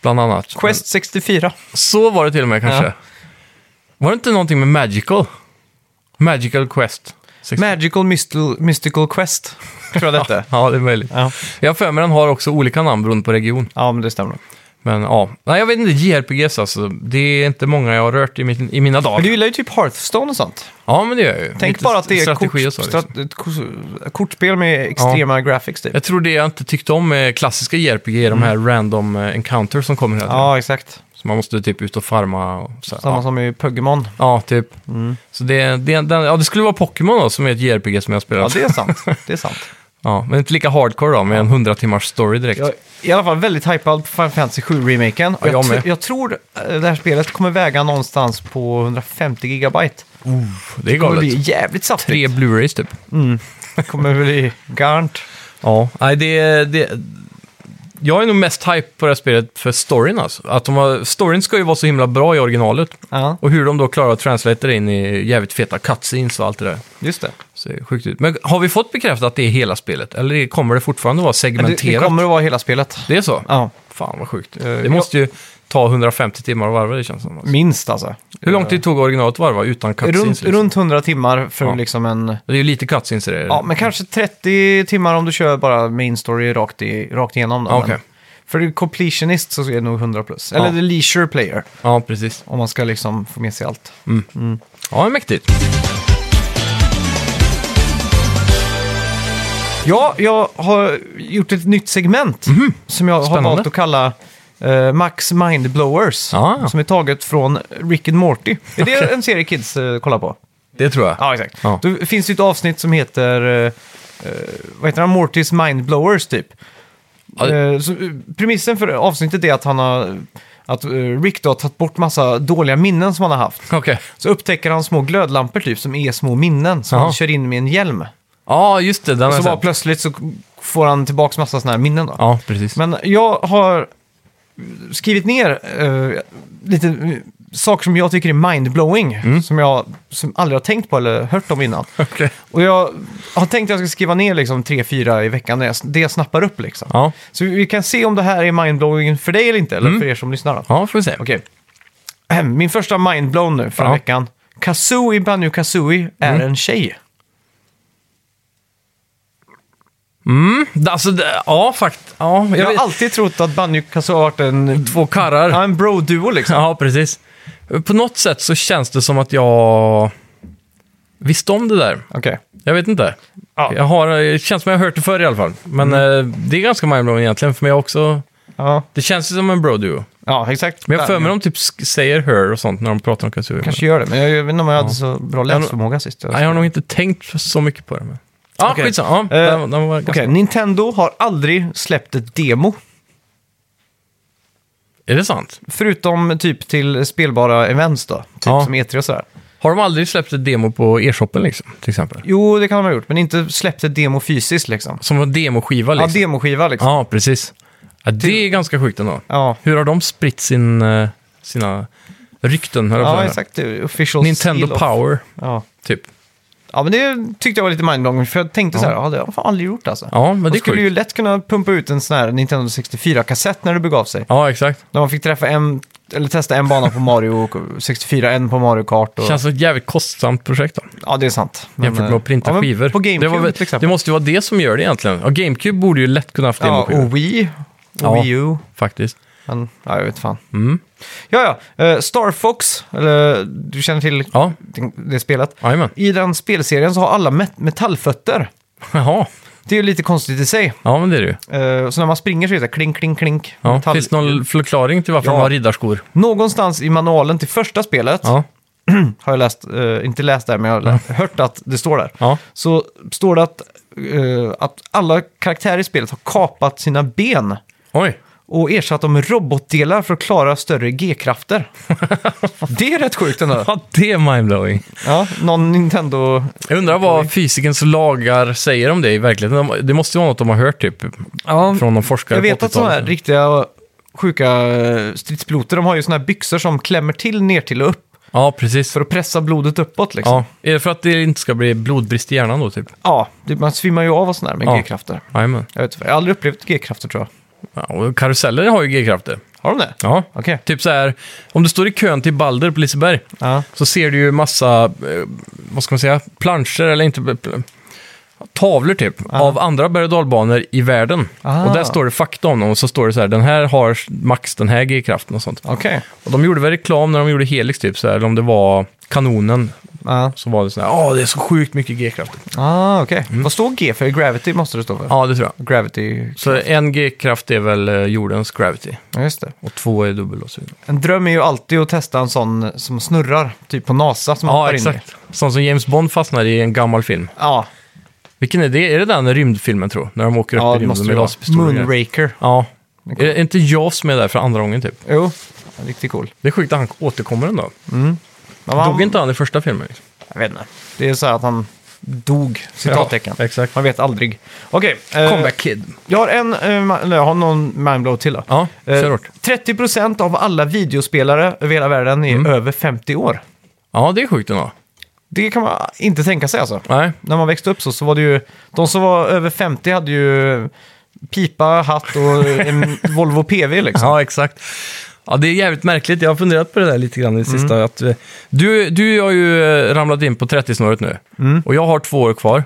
[SPEAKER 2] Bland annat.
[SPEAKER 1] Mm. Quest 64.
[SPEAKER 2] Men Så var det till och med kanske.
[SPEAKER 1] Ja.
[SPEAKER 2] Var det inte någonting med Magical? Magical Quest. Sex-
[SPEAKER 1] Magical Mystical, Mystical Quest, tror jag det hette.
[SPEAKER 2] ja, det är möjligt.
[SPEAKER 1] ja.
[SPEAKER 2] Jag har för mig den har också olika namn beroende på region.
[SPEAKER 1] ja, men det stämmer.
[SPEAKER 2] Men ja, nej jag vet inte, JRPGs alltså. Det är inte många jag har rört i, min, i mina dagar.
[SPEAKER 1] Men du gillar ju typ Hearthstone och sånt.
[SPEAKER 2] Ja, men det gör jag ju.
[SPEAKER 1] Tänk
[SPEAKER 2] Lite
[SPEAKER 1] bara att det är
[SPEAKER 2] strategi och
[SPEAKER 1] kort,
[SPEAKER 2] så, liksom.
[SPEAKER 1] strat, ett kors- kortspel med extrema graphics typ.
[SPEAKER 2] Jag tror det jag inte tyckte om med klassiska JRPG är de här random eh, encounters som kommer hela tiden.
[SPEAKER 1] Mm. Ja, exakt.
[SPEAKER 2] Så man måste typ ut och farma och så. här.
[SPEAKER 1] Samma Mm.
[SPEAKER 2] Ja.
[SPEAKER 1] som i Pokémon.
[SPEAKER 2] ja, typ. Så det, det, den, ja, det skulle vara Pokémon då, som är ett JRPG som jag spelar.
[SPEAKER 1] Ja,
[SPEAKER 2] Ja,
[SPEAKER 1] det är sant. Det är sant.
[SPEAKER 2] men inte lika hardcore då, med en 100 timmars story direkt.
[SPEAKER 1] Jag är i alla fall väldigt hypad på Final Fantasy 7-remaken.
[SPEAKER 2] Ja, jag
[SPEAKER 1] jag, tr-
[SPEAKER 2] med.
[SPEAKER 1] jag tror eh, det här spelet kommer väga någonstans på 150 gigabyte.
[SPEAKER 2] det är
[SPEAKER 1] Det kommer
[SPEAKER 2] galet.
[SPEAKER 1] bli jävligt
[SPEAKER 2] Tre
[SPEAKER 1] saftigt.
[SPEAKER 2] Blu-rays typ.
[SPEAKER 1] Det kommer bli garnt.
[SPEAKER 2] Ja, nej det, det... Jag är nog mest hype på det här spelet för storyn alltså. Att de har, storyn ska ju vara så himla bra i originalet.
[SPEAKER 1] Ja,
[SPEAKER 2] Och hur de då klarar att translate det in i jävligt feta cutscenes och allt det där.
[SPEAKER 1] just det.
[SPEAKER 2] Ser sjukt ut. Men har vi fått bekräftat att det är hela spelet? Eller är- kommer det fortfarande vara
[SPEAKER 1] Det,
[SPEAKER 2] segmenterat?
[SPEAKER 1] det kommer att vara hela spelet.
[SPEAKER 2] Det är så?
[SPEAKER 1] Ja,
[SPEAKER 2] Fan vad sjukt.
[SPEAKER 1] Eh,
[SPEAKER 2] Det måste ju ta 150 timmar att varva det känns som. Alltså.
[SPEAKER 1] minst alltså.
[SPEAKER 2] Hur lång tid tog originalet att varva utan cutscenes?
[SPEAKER 1] Runt,
[SPEAKER 2] liksom?
[SPEAKER 1] runt 100 timmar för
[SPEAKER 2] Ja.
[SPEAKER 1] liksom en...
[SPEAKER 2] Det är ju lite cutscenes i det.
[SPEAKER 1] Ja, men kanske 30 timmar om du kör bara main story rakt, i, rakt igenom. Då,
[SPEAKER 2] Ja, okej.
[SPEAKER 1] men För completionist så är det nog 100 plus. Eller
[SPEAKER 2] Ja.
[SPEAKER 1] the leisure player,
[SPEAKER 2] ja precis.
[SPEAKER 1] om man ska liksom få med sig allt.
[SPEAKER 2] Ja, mäktigt.
[SPEAKER 1] Ja, jag har gjort ett nytt segment som jag
[SPEAKER 2] Mhm. Spännande.
[SPEAKER 1] har valt att kalla eh, Max Mindblowers.
[SPEAKER 2] Ah.
[SPEAKER 1] Som är taget från Rick and Morty. Är det en serie kids eh, kollar på?
[SPEAKER 2] Det tror jag.
[SPEAKER 1] Ja, exakt.
[SPEAKER 2] Ja.
[SPEAKER 1] Då finns det ett avsnitt som heter, eh, eh, vad heter han, Mortys Mindblowers typ.
[SPEAKER 2] Ja, det-
[SPEAKER 1] Eh, så, eh, premissen för avsnittet är att han har, att eh, Rick då har tagit bort massa dåliga minnen som han har haft.
[SPEAKER 2] Okej.
[SPEAKER 1] Så upptäcker han små glödlampor typ som är små minnen som
[SPEAKER 2] Jaha.
[SPEAKER 1] han kör in med en hjälm.
[SPEAKER 2] Ja, just det. Den har
[SPEAKER 1] Så
[SPEAKER 2] jag
[SPEAKER 1] bara
[SPEAKER 2] sett.
[SPEAKER 1] plötsligt så får han tillbaka massa sådana här minnen då.
[SPEAKER 2] Ja, precis.
[SPEAKER 1] Men jag har skrivit ner eh, lite eh, saker som jag tycker är mindblowing.
[SPEAKER 2] Mm.
[SPEAKER 1] Som jag som aldrig har tänkt på eller hört om innan.
[SPEAKER 2] Okej.
[SPEAKER 1] Och jag har tänkt att jag ska skriva ner liksom tre, fyra i veckan när jag, det jag snappar upp liksom.
[SPEAKER 2] Ja. Mm.
[SPEAKER 1] Så vi kan se om det här är mindblowing för dig eller inte, eller för er som lyssnar. Då.
[SPEAKER 2] ja, får vi se.
[SPEAKER 1] Okej. Ahem, Min första mindblown nu förra
[SPEAKER 2] Ja. Mm.
[SPEAKER 1] veckan. Kazooie Banjo Kazooie är en tjej.
[SPEAKER 2] Alltså, det- ja, fakt. Ja, jag
[SPEAKER 1] Jag har
[SPEAKER 2] vet.
[SPEAKER 1] alltid trott att Banjo Kazooie har varit en,
[SPEAKER 2] Två karrar.
[SPEAKER 1] ja, en bro-duo liksom.
[SPEAKER 2] Ja, precis. På något sätt så känns det som att jag visste om det där.
[SPEAKER 1] Okej.
[SPEAKER 2] Jag vet inte.
[SPEAKER 1] Ja. Mm.
[SPEAKER 2] Jag har, det känns som jag har hört det förr i alla fall. Men eh, det är ganska mindblowing egentligen, för mig också.
[SPEAKER 1] Ja.
[SPEAKER 2] Det känns ju som en bro-duo.
[SPEAKER 1] Ja, exakt.
[SPEAKER 2] Men jag har för mig de typ sk- säger her och sånt när de pratar om kultur.
[SPEAKER 1] kanske gör det, men jag vet inte om jag hade så bra läsförmåga sist.
[SPEAKER 2] Nej, jag har nog inte tänkt så mycket på det. Men... Ja,
[SPEAKER 1] Okej.
[SPEAKER 2] skitsamma. Ja,
[SPEAKER 1] Eh,
[SPEAKER 2] den, den var ganska...
[SPEAKER 1] Okej, Nintendo har aldrig släppt ett demo.
[SPEAKER 2] Är det sant?
[SPEAKER 1] Förutom typ till spelbara events då. Typ
[SPEAKER 2] Ja.
[SPEAKER 1] som E3 och sådär.
[SPEAKER 2] Har de aldrig släppt ett demo på e-shoppen liksom, till exempel?
[SPEAKER 1] Jo, det kan de ha gjort, men inte släppt ett demo fysiskt liksom.
[SPEAKER 2] Som en demoskiva
[SPEAKER 1] Ja,
[SPEAKER 2] liksom?
[SPEAKER 1] demoskiva liksom.
[SPEAKER 2] Ja, precis. Ja, det är ganska sjukt ändå.
[SPEAKER 1] Ja,
[SPEAKER 2] Hur har de spritt sin, eh, sina rykten? Här
[SPEAKER 1] ja, exakt. det är Official
[SPEAKER 2] Nintendo
[SPEAKER 1] seal of-
[SPEAKER 2] Power,
[SPEAKER 1] Ja.
[SPEAKER 2] typ.
[SPEAKER 1] ja, men det tyckte jag var lite mindblowing, för jag tänkte så här, ja, det har jag fan aldrig gjort alltså.
[SPEAKER 2] Ja, men
[SPEAKER 1] De
[SPEAKER 2] det är
[SPEAKER 1] skulle
[SPEAKER 2] sjukt.
[SPEAKER 1] ju lätt kunna pumpa ut en sån här Nintendo 64-kassett när det begav sig.
[SPEAKER 2] Ja, exakt.
[SPEAKER 1] När man fick träffa en, eller testa en bana på Mario 64, en på Mario Kart. Och,
[SPEAKER 2] Känns som ett jävligt kostsamt projekt då.
[SPEAKER 1] Ja, det är sant. Men, eh,
[SPEAKER 2] Jämfört med att printa
[SPEAKER 1] ja, men
[SPEAKER 2] skivor.
[SPEAKER 1] På GameCube
[SPEAKER 2] det, var väl-
[SPEAKER 1] till
[SPEAKER 2] det
[SPEAKER 1] exempel.
[SPEAKER 2] måste ju vara det som gör det egentligen. Ja, GameCube borde ju lätt kunna haft
[SPEAKER 1] ja, oh.
[SPEAKER 2] demoskivor,
[SPEAKER 1] och Wii, och
[SPEAKER 2] Ja. Mm.
[SPEAKER 1] Wii U.
[SPEAKER 2] faktiskt.
[SPEAKER 1] Men, ja, jag vet fan. Ja, ja. eh, Star Fox, eller du känner till
[SPEAKER 2] Ja,
[SPEAKER 1] det spelet.
[SPEAKER 2] jajamän.
[SPEAKER 1] I den spelserien så har alla met- metallfötter.
[SPEAKER 2] Jaha,
[SPEAKER 1] Det är ju lite konstigt i sig.
[SPEAKER 2] ja men det är det ju.
[SPEAKER 1] Eh, Så när man springer så är det så här klink, klink, klink.
[SPEAKER 2] Ja.
[SPEAKER 1] metall-
[SPEAKER 2] Finns det någon förklaring till varför
[SPEAKER 1] Ja.
[SPEAKER 2] de har riddarskor?
[SPEAKER 1] Någonstans i manualen till första spelet
[SPEAKER 2] Ja,
[SPEAKER 1] har jag läst, eh, inte läst där, men jag har lä- hört att det står där.
[SPEAKER 2] ja.
[SPEAKER 1] Så står det att, eh, att alla karaktärer i spelet har kapat sina ben
[SPEAKER 2] Oj,
[SPEAKER 1] och ersatt dem med robotdelar för att klara större G-krafter. det är rätt sjukt ändå.
[SPEAKER 2] ja, det är mindblowing.
[SPEAKER 1] Ja, någon Nintendo...
[SPEAKER 2] Jag undrar vad fysikens lagar säger om det i verkligheten. De- Det måste ju vara något de har hört typ
[SPEAKER 1] Ja,
[SPEAKER 2] från någon forskare
[SPEAKER 1] jag vet
[SPEAKER 2] på
[SPEAKER 1] att sådana här
[SPEAKER 2] 80-talet.
[SPEAKER 1] riktiga sjuka eh, stridspiloter, de har ju sådana här byxor som klämmer till ner till och upp
[SPEAKER 2] Ja, precis.
[SPEAKER 1] för att pressa blodet uppåt liksom.
[SPEAKER 2] Ja. Är det för att det inte ska bli blodbrist i hjärnan då typ?
[SPEAKER 1] Ja, det, man svimmar ju av och sådär med
[SPEAKER 2] Ja.
[SPEAKER 1] G-krafter.
[SPEAKER 2] Jajamän.
[SPEAKER 1] Jag, vet, inte, jag har aldrig upplevt G-krafter tror jag.
[SPEAKER 2] Ja, och karuseller har ju G-krafter.
[SPEAKER 1] Har de det?
[SPEAKER 2] Ja.
[SPEAKER 1] Okej.
[SPEAKER 2] Typ så här, om du står i kön till Balder på Liseberg
[SPEAKER 1] Ja.
[SPEAKER 2] så ser du ju massa, eh, vad ska man säga, planscher eller inte, eh, pl- tavlor typ, av andra berg och dalbanor i världen.
[SPEAKER 1] Aha.
[SPEAKER 2] Och där står det fakta om dem och så står det så här, den här har max den här G-kraften och sånt.
[SPEAKER 1] Okej.
[SPEAKER 2] Och de gjorde väl reklam när de gjorde Helix typ, så här, eller om det var kanonen,
[SPEAKER 1] Ja.
[SPEAKER 2] så var det så här, ja det är så sjukt mycket G-kraft.
[SPEAKER 1] Ah, okej. Vad står G för? Gravity måste det stå för.
[SPEAKER 2] Mm. Ja, det tror jag.
[SPEAKER 1] Gravity,
[SPEAKER 2] Så en G-kraft är väl eh, jordens gravity
[SPEAKER 1] ja just det.
[SPEAKER 2] och två är dubbel och så vidare.
[SPEAKER 1] En dröm är ju alltid att testa en sån som snurrar, typ på NASA som
[SPEAKER 2] Ja,
[SPEAKER 1] hoppar in i.
[SPEAKER 2] exakt. Sånt som James Bond fastnar i en gammal film.
[SPEAKER 1] Ja,
[SPEAKER 2] Vilken är det? Är det den rymdfilmen tror jag? När de åker upp
[SPEAKER 1] ja
[SPEAKER 2] i
[SPEAKER 1] det
[SPEAKER 2] rymden
[SPEAKER 1] måste
[SPEAKER 2] med
[SPEAKER 1] det vara.
[SPEAKER 2] laserpistoler? och grejer.
[SPEAKER 1] Moonraker.
[SPEAKER 2] Ja. Är det inte jag som är där för andra gången typ?
[SPEAKER 1] Jo, ja, riktigt cool.
[SPEAKER 2] Det är sjukt att han återkommer ändå.
[SPEAKER 1] Men
[SPEAKER 2] Dog
[SPEAKER 1] han,
[SPEAKER 2] inte han i första filmen? Liksom?
[SPEAKER 1] Jag vet inte. Det är så här att han dog, citattecken.
[SPEAKER 2] Ja, exakt.
[SPEAKER 1] Man vet aldrig. Okej. eh,
[SPEAKER 2] Comeback Kid.
[SPEAKER 1] Jag har en, eh, ma- eller jag har någon mindblow till då.
[SPEAKER 2] Ja,
[SPEAKER 1] Eh,
[SPEAKER 2] kör hårt.
[SPEAKER 1] 30% av alla videospelare över hela världen är
[SPEAKER 2] Mm.
[SPEAKER 1] över 50 år.
[SPEAKER 2] Ja, det är sjukt ändå.
[SPEAKER 1] Det kan man inte tänka sig alltså.
[SPEAKER 2] Nej.
[SPEAKER 1] När man växte upp så, så var det ju, de som var över 50 hade ju pipa, hatt och en Volvo PV liksom.
[SPEAKER 2] Ja, exakt. Ja, det är jävligt märkligt. Jag har funderat på det där lite grann i det sista. Att, eh, du, du har ju eh, ramlat in på 30-snåret nu. Och jag har två år kvar.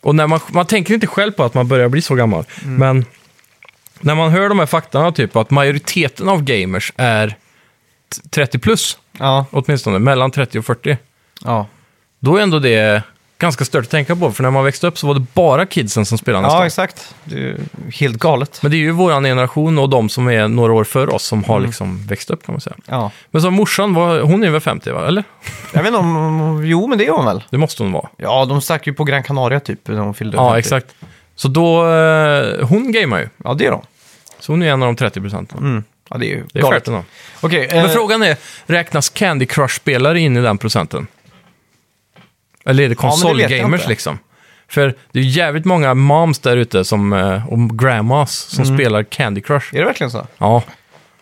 [SPEAKER 2] Och när man, man tänker inte själv på att man börjar bli så gammal. Men när man hör de här faktorna, typ att majoriteten av gamers är t- 30 plus,
[SPEAKER 1] Ja,
[SPEAKER 2] åtminstone mellan 30 och 40.
[SPEAKER 1] ja.
[SPEAKER 2] Då är ändå det ganska stört att tänka på. För när man växte upp så var det bara kidsen som spelade nästan.
[SPEAKER 1] ja exakt. Det är ju helt galet.
[SPEAKER 2] Men det är ju våran generation och de som är några år före oss som
[SPEAKER 1] Mm.
[SPEAKER 2] har liksom växt upp kan man säga.
[SPEAKER 1] Ja.
[SPEAKER 2] Men så morsan, var, hon är väl 50 va? Eller?
[SPEAKER 1] Jag vet inte om, jo men det är hon väl?
[SPEAKER 2] Det måste hon vara.
[SPEAKER 1] Ja, de stack ju på Gran Canaria typ när hon fyllde
[SPEAKER 2] Ja,
[SPEAKER 1] 50.
[SPEAKER 2] exakt. Så då, eh, hon gamear ju.
[SPEAKER 1] Ja, det är de.
[SPEAKER 2] Så hon är en av de 30 procenten.
[SPEAKER 1] Mm. Ja, det är ju
[SPEAKER 2] Det är
[SPEAKER 1] galet.
[SPEAKER 2] fett ändå.
[SPEAKER 1] Okej,
[SPEAKER 2] Men
[SPEAKER 1] eh,
[SPEAKER 2] frågan är, räknas Candy Crush-spelare in i den procenten? Eller är det
[SPEAKER 1] men det vet jag
[SPEAKER 2] konsolgamers
[SPEAKER 1] inte.
[SPEAKER 2] liksom? För det är ju jävligt många moms där ute som, eh, och grandmas som
[SPEAKER 1] Mm.
[SPEAKER 2] spelar Candy Crush.
[SPEAKER 1] är det verkligen så?
[SPEAKER 2] Ja,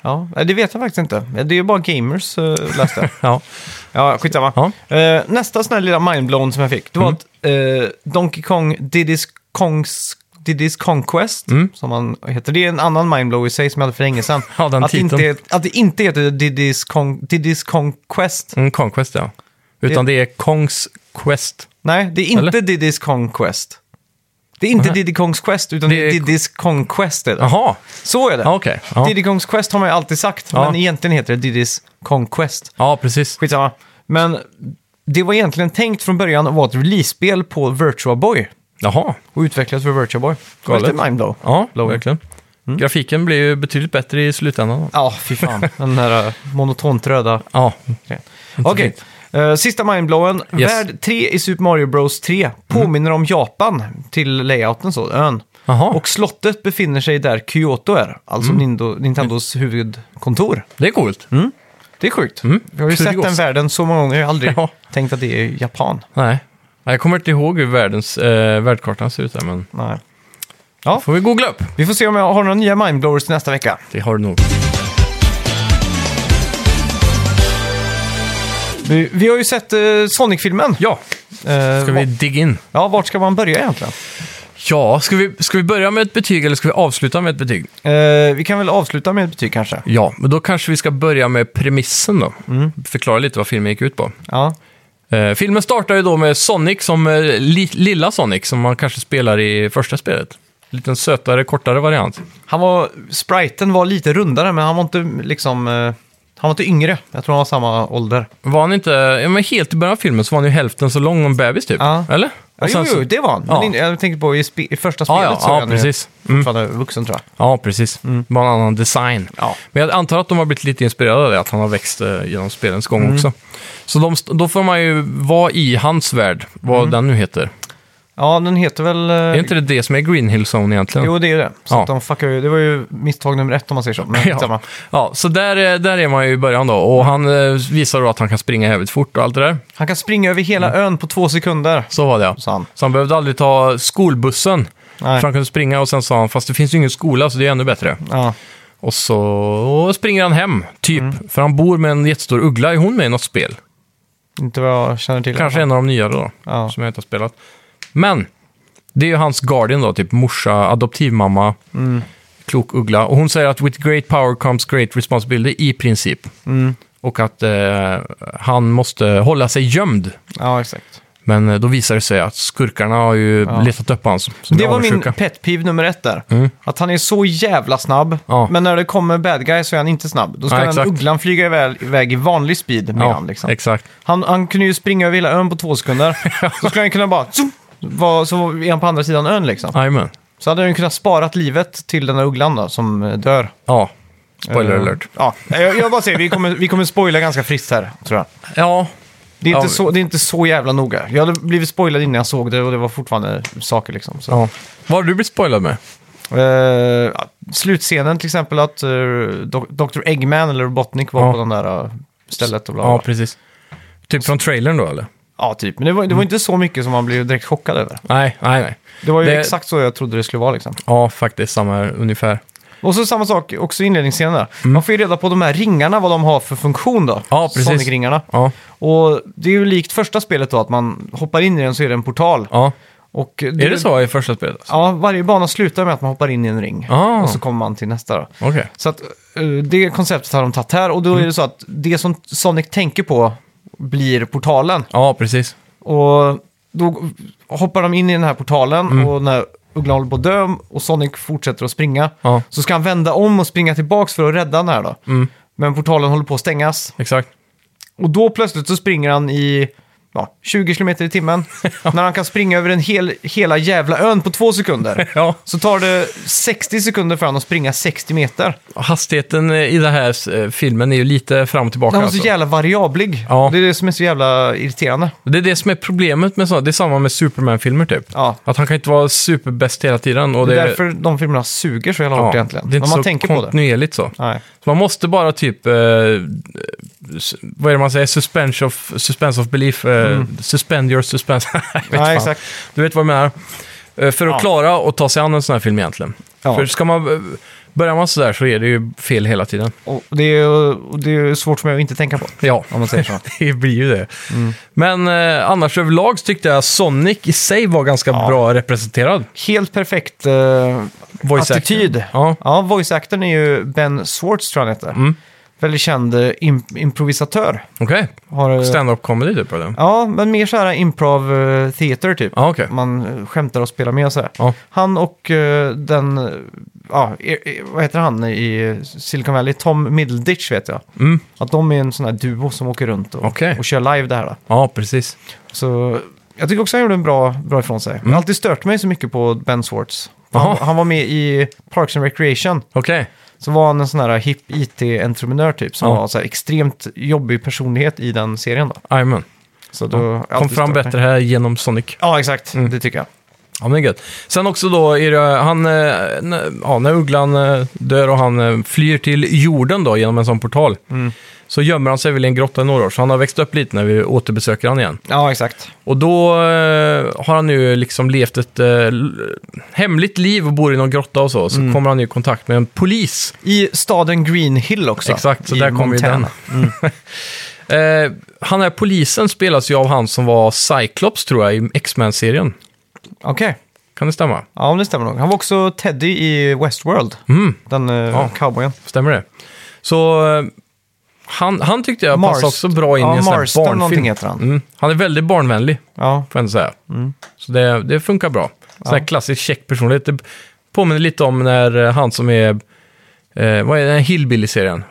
[SPEAKER 1] Ja, nej, det vet jag faktiskt inte. Det är ju bara gamers, eh, läste jag.
[SPEAKER 2] ja.
[SPEAKER 1] Ja, skitsamma.
[SPEAKER 2] Ja. Mm.
[SPEAKER 1] Eh, nästa sån här lilla mindblown som jag fick, det var att eh, Donkey Kong Diddy's, Kongs, Diddy's Conquest, som han heter, det är en annan mindblow i sig som jag hade för länge sedan.
[SPEAKER 2] Mm. Ja, den
[SPEAKER 1] att, det
[SPEAKER 2] titeln.
[SPEAKER 1] inte, att det inte heter Diddy's, Kong, Diddy's Conquest.
[SPEAKER 2] Mm, Conquest ja. Utan det, är Kongs Quest.
[SPEAKER 1] Nej, det är inte
[SPEAKER 2] Eller?
[SPEAKER 1] Diddy's Conquest. Det är inte Diddy Kongs Quest, utan det
[SPEAKER 2] Det
[SPEAKER 1] är
[SPEAKER 2] är-
[SPEAKER 1] Diddy's Conquest. Är det.
[SPEAKER 2] Jaha,
[SPEAKER 1] Så är det.
[SPEAKER 2] ja, okej. Ja.
[SPEAKER 1] Diddy Kongs Quest har man ju alltid sagt,
[SPEAKER 2] Ja.
[SPEAKER 1] men egentligen heter det Diddy's Conquest.
[SPEAKER 2] ja, precis.
[SPEAKER 1] Skitsamma. Men det var egentligen tänkt från början att vara ett release-spel på Virtua Boy.
[SPEAKER 2] Jaha,
[SPEAKER 1] Och utvecklat för Virtua Boy. Det var
[SPEAKER 2] Galet.
[SPEAKER 1] Lite mindblow.
[SPEAKER 2] ja, Mm. verkligen. Grafiken blir ju betydligt bättre i slutändan.
[SPEAKER 1] Ja, fy fan. Den här eh, monotont röda
[SPEAKER 2] Ja,
[SPEAKER 1] grejen. Okej, eh, sista mindblowen.
[SPEAKER 2] Yes.
[SPEAKER 1] Värld 3 i Super Mario Bros 3 påminner om Japan till layouten så, ön.
[SPEAKER 2] Jaha. Mm.
[SPEAKER 1] Och slottet befinner sig där Kyoto är, alltså Nindo- Nintendos huvudkontor.
[SPEAKER 2] det är coolt.
[SPEAKER 1] Det är sjukt. Jag har ju sett
[SPEAKER 2] Kurios.
[SPEAKER 1] den världen så många gånger, jag har aldrig
[SPEAKER 2] Mm. Ja.
[SPEAKER 1] tänkt att det är Japan.
[SPEAKER 2] Nej. Nej, Jag kommer inte ihåg hur världens, eh, världskartan ser ut där, men
[SPEAKER 1] Nej.
[SPEAKER 2] får vi googla upp.
[SPEAKER 1] Vi får se om jag har några nya mindblowers till nästa vecka.
[SPEAKER 2] Det har du nog.
[SPEAKER 1] Vi, vi har ju sett eh, Sonic-filmen.
[SPEAKER 2] Ja,
[SPEAKER 1] Eh,
[SPEAKER 2] ska vi
[SPEAKER 1] va-
[SPEAKER 2] digga in?
[SPEAKER 1] Ja, vart ska man börja egentligen?
[SPEAKER 2] Ja, ska vi, ska vi börja med ett betyg eller ska vi avsluta med ett betyg?
[SPEAKER 1] Eh, vi kan väl avsluta med ett betyg kanske?
[SPEAKER 2] Ja, men då kanske vi ska börja med premissen då. Förklara lite vad filmen gick ut på.
[SPEAKER 1] Ja.
[SPEAKER 2] Eh, filmen startar ju då med Sonic som eh, li, lilla Sonic som man kanske spelar i första spelet. Liten sötare, kortare variant.
[SPEAKER 1] Han var, spriten var lite rundare, men han var inte liksom... eh, han var inte yngre. Jag tror han var samma ålder.
[SPEAKER 2] Var han inte, ja, men helt i början av filmen så var han ju hälften så lång om bebis typ,
[SPEAKER 1] Ja.
[SPEAKER 2] eller?
[SPEAKER 1] Ja,
[SPEAKER 2] Och sen
[SPEAKER 1] jo,
[SPEAKER 2] så-
[SPEAKER 1] jo, det var han.
[SPEAKER 2] Ja.
[SPEAKER 1] Men in- jag tänker på i, spe, i första
[SPEAKER 2] Ja,
[SPEAKER 1] spelet
[SPEAKER 2] ja,
[SPEAKER 1] så är
[SPEAKER 2] ja
[SPEAKER 1] han ju
[SPEAKER 2] precis. Mm.
[SPEAKER 1] fortfarande vuxen tror jag.
[SPEAKER 2] Ja, precis. Bara en annan design.
[SPEAKER 1] Mm. Ja.
[SPEAKER 2] Men jag antar att de har blivit lite inspirerade av det, att han har växt eh, genom spelens gång
[SPEAKER 1] Mm.
[SPEAKER 2] också. Så de, st- då får man ju vara i hans värld, vad den nu heter.
[SPEAKER 1] Mm. Ja, den heter väl... eh,
[SPEAKER 2] Är inte det det som är Green Hill Zone egentligen?
[SPEAKER 1] Jo, det är ju det. Så
[SPEAKER 2] Ja.
[SPEAKER 1] att de fuckar ju. Det var ju misstag nummer ett om man säger så. Men
[SPEAKER 2] ja.
[SPEAKER 1] ja.
[SPEAKER 2] ja, så där, eh, där är man ju i början då. Och han eh, visar då att han kan springa jävligt fort och allt det där.
[SPEAKER 1] Han kan springa över hela
[SPEAKER 2] Mm.
[SPEAKER 1] ön på två sekunder,
[SPEAKER 2] Så var det ja.
[SPEAKER 1] sa han.
[SPEAKER 2] Så han behövde aldrig ta skolbussen.
[SPEAKER 1] Nej.
[SPEAKER 2] För han kunde springa och sen sa han, fast det finns ju ingen skola så det är ännu bättre.
[SPEAKER 1] Ja.
[SPEAKER 2] Och så springer han hem, typ.
[SPEAKER 1] Mm.
[SPEAKER 2] För han bor med en jättestor uggla. Är hon med i något spel?
[SPEAKER 1] Inte vad jag känner till.
[SPEAKER 2] Kanske en av de nyare då,
[SPEAKER 1] Ja.
[SPEAKER 2] som jag inte har spelat. Men, det är ju hans Guardian då, typ morsa, adoptivmamma,
[SPEAKER 1] Mm.
[SPEAKER 2] klok uggla. Och hon säger att with great power comes great responsibility, i princip.
[SPEAKER 1] Mm.
[SPEAKER 2] Och att eh, han måste hålla sig gömd.
[SPEAKER 1] Ja, exakt.
[SPEAKER 2] Men eh, då visar det sig att skurkarna har ju letat upp hans som
[SPEAKER 1] Det
[SPEAKER 2] är
[SPEAKER 1] var min
[SPEAKER 2] avundsjuka.
[SPEAKER 1] pet peeve nummer ett där. Att han är så jävla snabb,
[SPEAKER 2] Mm. Ja.
[SPEAKER 1] men när det kommer bad guy så är han inte snabb. Då ska
[SPEAKER 2] Ja,
[SPEAKER 1] den
[SPEAKER 2] exakt.
[SPEAKER 1] ugglan flyga iväg, iväg i vanlig speed med
[SPEAKER 2] Ja,
[SPEAKER 1] han, liksom.
[SPEAKER 2] exakt.
[SPEAKER 1] han. Han kunde ju springa över hela ön på två sekunder. så skulle han kunna bara... zoom, var, så är han på andra sidan ön liksom.
[SPEAKER 2] Jajamän.
[SPEAKER 1] Så hade han ju kunnat sparat livet till den där ugglan då, som eh, dör.
[SPEAKER 2] Ja, spoiler
[SPEAKER 1] Eh,
[SPEAKER 2] alert.
[SPEAKER 1] Ja, jag, jag bara säger, vi kommer, vi kommer spoila ganska friskt här, tror jag.
[SPEAKER 2] Ja,
[SPEAKER 1] Det är,
[SPEAKER 2] Ja.
[SPEAKER 1] inte så, det är inte så jävla noga. Jag hade blivit spoilad innan jag såg det och det var fortfarande saker liksom. Så.
[SPEAKER 2] ja. Vad har du blivit spoilad med?
[SPEAKER 1] Eh, slutscenen till exempel att eh, Doc- Dr. Eggman eller Robotnik var
[SPEAKER 2] Ja.
[SPEAKER 1] på den där eh, stället och bla bla.
[SPEAKER 2] Ja,
[SPEAKER 1] bla.
[SPEAKER 2] precis. Typ från trailern då, eller?
[SPEAKER 1] Ja, typ. Men det var, det var
[SPEAKER 2] Mm.
[SPEAKER 1] inte så mycket som man blev direkt chockad över.
[SPEAKER 2] Nej, nej, nej.
[SPEAKER 1] Det var ju
[SPEAKER 2] Det-
[SPEAKER 1] exakt så jag trodde det skulle vara liksom.
[SPEAKER 2] Ja, faktiskt samma här, ungefär.
[SPEAKER 1] Och så samma sak också i inledningsscenen där. Man får ju reda på de här ringarna, vad de har för funktion då.
[SPEAKER 2] Mm. Ja, precis.
[SPEAKER 1] Sonic-ringarna.
[SPEAKER 2] Ja,
[SPEAKER 1] Och det är ju likt första spelet då, att man hoppar in i den så är det en portal.
[SPEAKER 2] ja.
[SPEAKER 1] Och
[SPEAKER 2] Är det så i första spelet? alltså?
[SPEAKER 1] Ja, varje bana slutar med att man hoppar in i en ring.
[SPEAKER 2] Ah.
[SPEAKER 1] Och så kommer man till nästa då.
[SPEAKER 2] Okej.
[SPEAKER 1] Så att eh, det konceptet har de tagit här och då är det så att det som Sonic tänker på blir portalen.
[SPEAKER 2] Ja, precis.
[SPEAKER 1] Och då hoppar de in i den här portalen
[SPEAKER 2] Mm.
[SPEAKER 1] och när ugglan håller på att dö och Sonic fortsätter att springa
[SPEAKER 2] Ja. Mm.
[SPEAKER 1] så ska han vända om och springa tillbaks för att rädda den här då. Men portalen håller på att stängas
[SPEAKER 2] Exakt.
[SPEAKER 1] och då plötsligt så springer han i ja, 20 km i timmen när han kan springa över en hel, hela jävla ön på två sekunder.
[SPEAKER 2] Ja.
[SPEAKER 1] Så tar det 60 sekunder för honom att springa 60 meter.
[SPEAKER 2] Hastigheten eh, i den här eh, filmen är ju lite fram och tillbaka.
[SPEAKER 1] Han är
[SPEAKER 2] alltså.
[SPEAKER 1] så jävla variablig.
[SPEAKER 2] Ja.
[SPEAKER 1] Det är det som är så jävla irriterande.
[SPEAKER 2] Det är det som är problemet med sådana. Det är samma med Superman-filmer typ.
[SPEAKER 1] Ja.
[SPEAKER 2] Att han kan inte vara superbäst hela tiden. Och
[SPEAKER 1] Det
[SPEAKER 2] det,
[SPEAKER 1] är därför de filmerna suger så jävla
[SPEAKER 2] ja,
[SPEAKER 1] hårt egentligen.
[SPEAKER 2] Det är inte
[SPEAKER 1] När man
[SPEAKER 2] så
[SPEAKER 1] tänker på det.
[SPEAKER 2] kontinuerligt så.
[SPEAKER 1] Nej.
[SPEAKER 2] Så Man måste bara typ, eh, s- vad är det man säger, suspense of, suspense of belief, eh,
[SPEAKER 1] Mm.
[SPEAKER 2] suspend your suspense. Jag vet
[SPEAKER 1] Nej,
[SPEAKER 2] fan.
[SPEAKER 1] exakt.
[SPEAKER 2] Du vet vad jag menar. Eh, För att
[SPEAKER 1] Ja.
[SPEAKER 2] klara och ta sig an en sån här film egentligen.
[SPEAKER 1] Ja.
[SPEAKER 2] För ska man, eh, börjar man sådär så är det ju fel hela tiden.
[SPEAKER 1] Och det är ju och det är ju svårt för mig att inte tänka på.
[SPEAKER 2] Ja,
[SPEAKER 1] Om man säger så. Mm.
[SPEAKER 2] det blir ju det. Men eh, annars överlag så tyckte jag Sonic i sig var ganska bra representerad.
[SPEAKER 1] Helt perfekt eh,
[SPEAKER 2] Voice actor.
[SPEAKER 1] attityd.
[SPEAKER 2] Ja.
[SPEAKER 1] Ja, voice-actorn är ju Ben Swartz tror jag han heter.
[SPEAKER 2] Mm.
[SPEAKER 1] Väldigt känd eh, im- improvisatör.
[SPEAKER 2] Okej,
[SPEAKER 1] Har, eh,
[SPEAKER 2] stand-up comedy typ eller?
[SPEAKER 1] Ja, men mer så här improv eh, theater typ.
[SPEAKER 2] Ja, okej.
[SPEAKER 1] Man eh, skämtar och spelar med och så här.
[SPEAKER 2] Ja.
[SPEAKER 1] Han och eh, den, eh, ja, er- er- vad heter han i Silicon Valley? Tom Middleditch vet jag.
[SPEAKER 2] Mm.
[SPEAKER 1] Att de är en sån här duo som åker runt och,
[SPEAKER 2] Okej.
[SPEAKER 1] och kör live det här. Då.
[SPEAKER 2] Ja, precis.
[SPEAKER 1] Så jag tycker också han gjorde en bra, bra ifrån sig. Jag har alltid stört mig så mycket på Ben Swartz.
[SPEAKER 2] Mm. Jaha.
[SPEAKER 1] Han, han var med i Parks and Recreation.
[SPEAKER 2] Okej.
[SPEAKER 1] Så var han en sån här hipp IT-entreprenör typ, som
[SPEAKER 2] Ja.
[SPEAKER 1] var så här extremt jobbig personlighet i den serien då.
[SPEAKER 2] Jajamän.
[SPEAKER 1] Så då jag
[SPEAKER 2] Kom
[SPEAKER 1] alltid
[SPEAKER 2] fram
[SPEAKER 1] stört mig.
[SPEAKER 2] bättre Mm. här genom Sonic.
[SPEAKER 1] Ja, exakt. Det tycker jag.
[SPEAKER 2] Ja, men det är gött. Sen också då, är det, han, eh, n- ja, när ugglan eh, dör och han eh, flyr till jorden då genom en sån portal.
[SPEAKER 1] Mm.
[SPEAKER 2] Så gömmer han sig väl i en grotta i några år, så han har växt upp lite när vi återbesöker han igen.
[SPEAKER 1] Ja, exakt.
[SPEAKER 2] Och då eh, har han ju liksom levt ett eh, l- hemligt liv och bor i någon grotta och så. Så
[SPEAKER 1] Mm.
[SPEAKER 2] kommer han ju i kontakt med en polis.
[SPEAKER 1] I staden Green Hill också.
[SPEAKER 2] Exakt, så
[SPEAKER 1] i
[SPEAKER 2] där kommer ju den.
[SPEAKER 1] Montana. Mm.
[SPEAKER 2] eh, han är polisen spelas ju av han som var Cyclops tror jag i X-Men-serien.
[SPEAKER 1] Okej.
[SPEAKER 2] Kan det stämma?
[SPEAKER 1] Ja, men det stämmer nog. Han var också Teddy i Westworld.
[SPEAKER 2] Mm.
[SPEAKER 1] Den eh, cowboyen.
[SPEAKER 2] Stämmer det? Så eh, han, han tyckte jag
[SPEAKER 1] Marst-
[SPEAKER 2] passade också bra in
[SPEAKER 1] ja,
[SPEAKER 2] i en sån här
[SPEAKER 1] Marston någonting
[SPEAKER 2] barnfilm.
[SPEAKER 1] heter han. Mm.
[SPEAKER 2] Mm. Han är väldigt barnvänlig,
[SPEAKER 1] Ja,
[SPEAKER 2] får jag ändå säga. Så det, det funkar bra. Sån här klassisk tjeck personlighet. Det påminner lite om när eh, han som är... Eh, vad är den här Hillbilly-serien?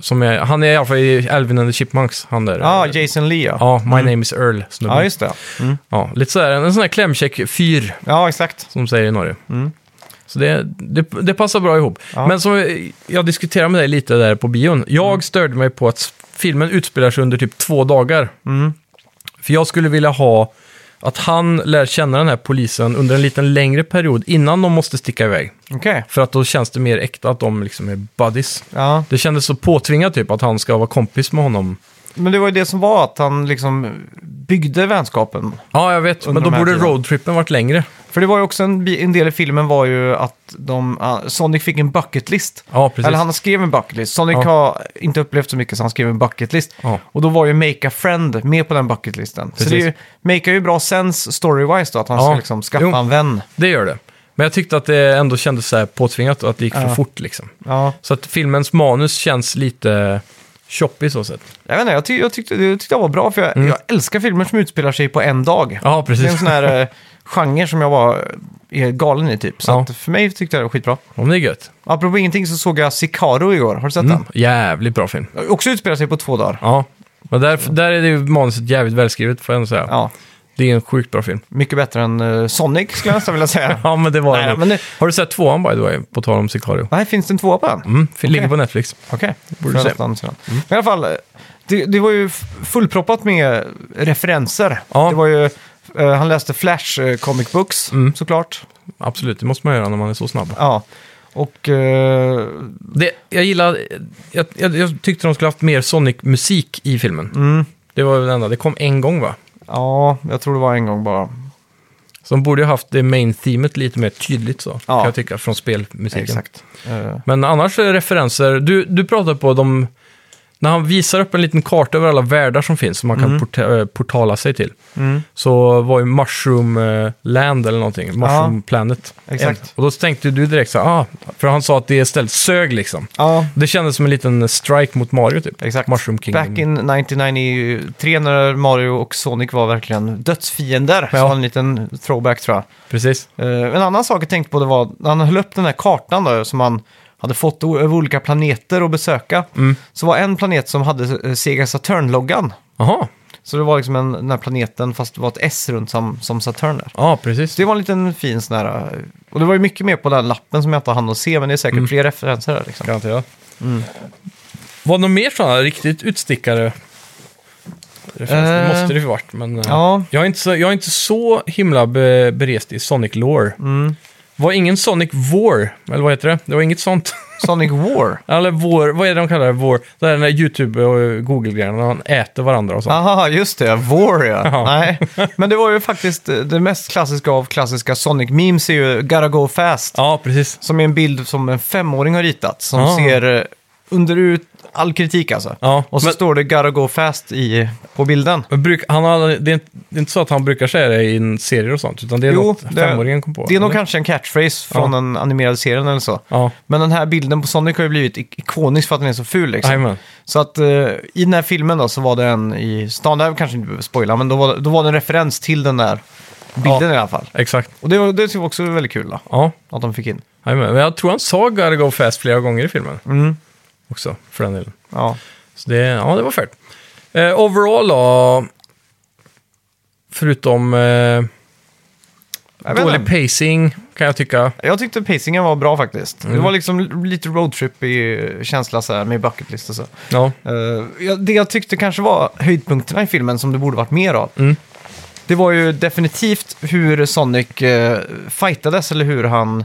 [SPEAKER 2] Som är, han är i alla fall i Alvin and the Chipmunks, han där.
[SPEAKER 1] ja
[SPEAKER 2] Eh,
[SPEAKER 1] Ah, Jason Lee ja. Mm.
[SPEAKER 2] ja, My name is Earl.
[SPEAKER 1] Ja,
[SPEAKER 2] snubben.
[SPEAKER 1] just det.
[SPEAKER 2] ja, lite sådär, en sån här klämkäck fyr
[SPEAKER 1] Ja, exakt.
[SPEAKER 2] som de säger i Norge. Så det, det, det passar bra ihop.
[SPEAKER 1] Mm. Ja. Mm.
[SPEAKER 2] Men som jag- jag diskuterade med dig lite där på bion. Jag störde mig på att filmen utspelar sig under typ två dagar.
[SPEAKER 1] Mm.
[SPEAKER 2] För jag skulle vilja ha att han lär känna den här polisen under en liten längre period innan de måste sticka iväg.
[SPEAKER 1] Okej.
[SPEAKER 2] För att då känns det mer äkta att de liksom är buddies.
[SPEAKER 1] Ja.
[SPEAKER 2] Det kändes så påtvingat typ att han ska vara kompis med honom.
[SPEAKER 1] Men det var ju det som var att han liksom byggde vänskapen.
[SPEAKER 2] Ja, jag vet.
[SPEAKER 1] Under de
[SPEAKER 2] men då
[SPEAKER 1] här
[SPEAKER 2] borde
[SPEAKER 1] tiden.
[SPEAKER 2] roadtrippen varit längre.
[SPEAKER 1] För det var ju också en, bi- en del i filmen var ju att de, ah, Sonic fick en bucketlist.
[SPEAKER 2] Ja, precis.
[SPEAKER 1] Eller han skrev en bucketlist. Sonic
[SPEAKER 2] Ja.
[SPEAKER 1] har inte upplevt så mycket så han skrev en bucketlist.
[SPEAKER 2] Ja.
[SPEAKER 1] Och då var ju Make a Friend med på den bucketlisten. Så
[SPEAKER 2] Precis.
[SPEAKER 1] det är ju, Make är ju bra sens story-wise då, att han
[SPEAKER 2] Ja.
[SPEAKER 1] ska liksom skaffa
[SPEAKER 2] Jo.
[SPEAKER 1] en vän.
[SPEAKER 2] Det gör det. Men jag tyckte att det ändå kändes så här påtvingat och att det gick för fort liksom.
[SPEAKER 1] Ja.
[SPEAKER 2] Så att filmens manus känns lite choppig så sett.
[SPEAKER 1] Jag vet inte, jag, ty- jag tyckte det tyckte jag var bra för jag, jag älskar filmer som utspelar sig på en dag.
[SPEAKER 2] Mm. Ja, precis.
[SPEAKER 1] Det är en sån här eh, genre som jag var eh, är galen i typ. Så
[SPEAKER 2] Ja.
[SPEAKER 1] att för mig tyckte jag det var skitbra.
[SPEAKER 2] Om det är gött.
[SPEAKER 1] Apropå ingenting så såg jag Sicario igår, har du sett
[SPEAKER 2] Mm. Jävligt bra film.
[SPEAKER 1] den? Också utspelar sig på två dagar.
[SPEAKER 2] Ja. Men där, där är det ju manuset jävligt välskrivet får jag ändå säga.
[SPEAKER 1] Ja,
[SPEAKER 2] Det är en sjukt bra film.
[SPEAKER 1] mycket bättre än eh, Sonic skulle jag nästan vilja säga.
[SPEAKER 2] Ja, men det var
[SPEAKER 1] Nej,
[SPEAKER 2] det.
[SPEAKER 1] men det-
[SPEAKER 2] Har du sett tvåan by the way, på tal om Sicario?
[SPEAKER 1] Nej, finns det en tvåa på den?
[SPEAKER 2] Mm, fin- Ligger på Netflix.
[SPEAKER 1] Okej,
[SPEAKER 2] Borde
[SPEAKER 1] Får jag
[SPEAKER 2] se. Mm.
[SPEAKER 1] nästan se den. Men i alla fall, eh, det, det var ju f- fullproppat med eh, referenser.
[SPEAKER 2] Ja.
[SPEAKER 1] Det var ju, eh, han läste Flash eh, comic books
[SPEAKER 2] Mm.
[SPEAKER 1] såklart.
[SPEAKER 2] Absolut, det måste man göra när man är så snabb.
[SPEAKER 1] Ja. Och eh,
[SPEAKER 2] Det, jag gillar, jag, jag, jag tyckte de skulle haft mer Sonic-musik i filmen.
[SPEAKER 1] Mm.
[SPEAKER 2] Det var väl det enda, det kom en gång va?
[SPEAKER 1] ja, jag tror det var en gång bara.
[SPEAKER 2] Så de borde ju haft det main themet lite mer tydligt så, kan jag tycka, från spelmusiken.
[SPEAKER 1] Exakt. Eh,
[SPEAKER 2] Men annars är referenser, du, du pratar på de, när han visar upp en liten karta över alla världar som finns som man
[SPEAKER 1] Mm.
[SPEAKER 2] kan porta, eh, portala sig till. Så var ju Mushroom eh, Land eller någonting, Mushroom Planet.
[SPEAKER 1] Exakt.
[SPEAKER 2] En. Och då tänkte du direkt så här, ah, för han sa att det är ställt sög liksom.
[SPEAKER 1] ja,
[SPEAKER 2] Det kändes som en liten strike mot Mario typ.
[SPEAKER 1] exakt.
[SPEAKER 2] Mushroom Kingdom.
[SPEAKER 1] Back in 1993 när Mario och Sonic var verkligen dödsfiender.
[SPEAKER 2] Ja.
[SPEAKER 1] Så var en liten throwback tror jag.
[SPEAKER 2] Precis.
[SPEAKER 1] Eh, en annan sak jag tänkte på det var, när han höll upp den här kartan då, som han hade fått o- över olika planeter att besöka.
[SPEAKER 2] Mm.
[SPEAKER 1] Så var en planet som hade eh, Sega Saturn-loggan.
[SPEAKER 2] Jaha,
[SPEAKER 1] Så det var liksom en, den här planeten, fast det var ett S runt som, som Saturn där.
[SPEAKER 2] ja precis.
[SPEAKER 1] Så det var en liten fin sån här... eh, Och det var ju mycket mer på den här lappen som jag inte hann att se, men det är
[SPEAKER 2] Mm.
[SPEAKER 1] säkert fler referenser där liksom.
[SPEAKER 2] Garanterat. Mm. Var det några mer sådana riktigt utstickare? referenser? Det
[SPEAKER 1] Eh,
[SPEAKER 2] måste det ju varit, men eh,
[SPEAKER 1] ja.
[SPEAKER 2] jag, är inte så, jag är inte så himla be, berest i Sonic Lore.
[SPEAKER 1] Mm.
[SPEAKER 2] Var ingen Sonic War, eller vad heter det? Det var inget sånt.
[SPEAKER 1] Sonic War.
[SPEAKER 2] Eller War, vad är det de kallar det? War? Det är den där YouTube och Google-grejen, när man äter varandra och sånt.
[SPEAKER 1] Aha, just det. War, ja.
[SPEAKER 2] Ja.
[SPEAKER 1] Nej. Men det var ju faktiskt eh, det mest klassiska av klassiska Sonic-memes är ju Gotta Go Fast.
[SPEAKER 2] Ja, precis.
[SPEAKER 1] Som är en bild som en femåring har ritat. Som
[SPEAKER 2] Ah.
[SPEAKER 1] ser eh, under ut all kritik alltså.
[SPEAKER 2] Ja,
[SPEAKER 1] och så
[SPEAKER 2] men-
[SPEAKER 1] står det Gotta Go Fast i, på bilden.
[SPEAKER 2] Men bruk, han har, det, är inte, det är inte så att han brukar säga det i en serie och sånt, utan det är
[SPEAKER 1] Jo,
[SPEAKER 2] något
[SPEAKER 1] det-
[SPEAKER 2] femåringen kom på.
[SPEAKER 1] Det är nog
[SPEAKER 2] eller?
[SPEAKER 1] kanske en catchphrase från
[SPEAKER 2] Ja.
[SPEAKER 1] den animerade serien eller så.
[SPEAKER 2] Ja,
[SPEAKER 1] Men den här bilden på Sonic har ju blivit ik- ikonisk för att den är så ful liksom.
[SPEAKER 2] Jajamän.
[SPEAKER 1] Så att eh, i den här filmen då så var det en i stan, där kanske inte behöver spoila, men då var, då var det en referens till den där bilden
[SPEAKER 2] Ja.
[SPEAKER 1] i alla fall.
[SPEAKER 2] Exakt.
[SPEAKER 1] Och det, var- det var också väldigt kul då,
[SPEAKER 2] Ja,
[SPEAKER 1] att de fick in.
[SPEAKER 2] Jajamän, men jag tror han sa Gotta Go Fast flera gånger i filmen.
[SPEAKER 1] Mm.
[SPEAKER 2] Också, för den delen.
[SPEAKER 1] Ja.
[SPEAKER 2] Så det, ja, det var fett. Eh, overall då, förutom... Eh,
[SPEAKER 1] Jag vet
[SPEAKER 2] Dålig
[SPEAKER 1] inte.
[SPEAKER 2] pacing, kan jag tycka.
[SPEAKER 1] Jag tyckte pacingen var bra faktiskt.
[SPEAKER 2] Mm.
[SPEAKER 1] Det var liksom lite roadtrip i eh, känsla så här med bucket list och så.
[SPEAKER 2] Ja.
[SPEAKER 1] Eh, ja, det jag tyckte kanske var höjdpunkterna i filmen som det borde varit mer av.
[SPEAKER 2] Mm.
[SPEAKER 1] Det var ju definitivt hur Sonic uh, fightades eller hur han...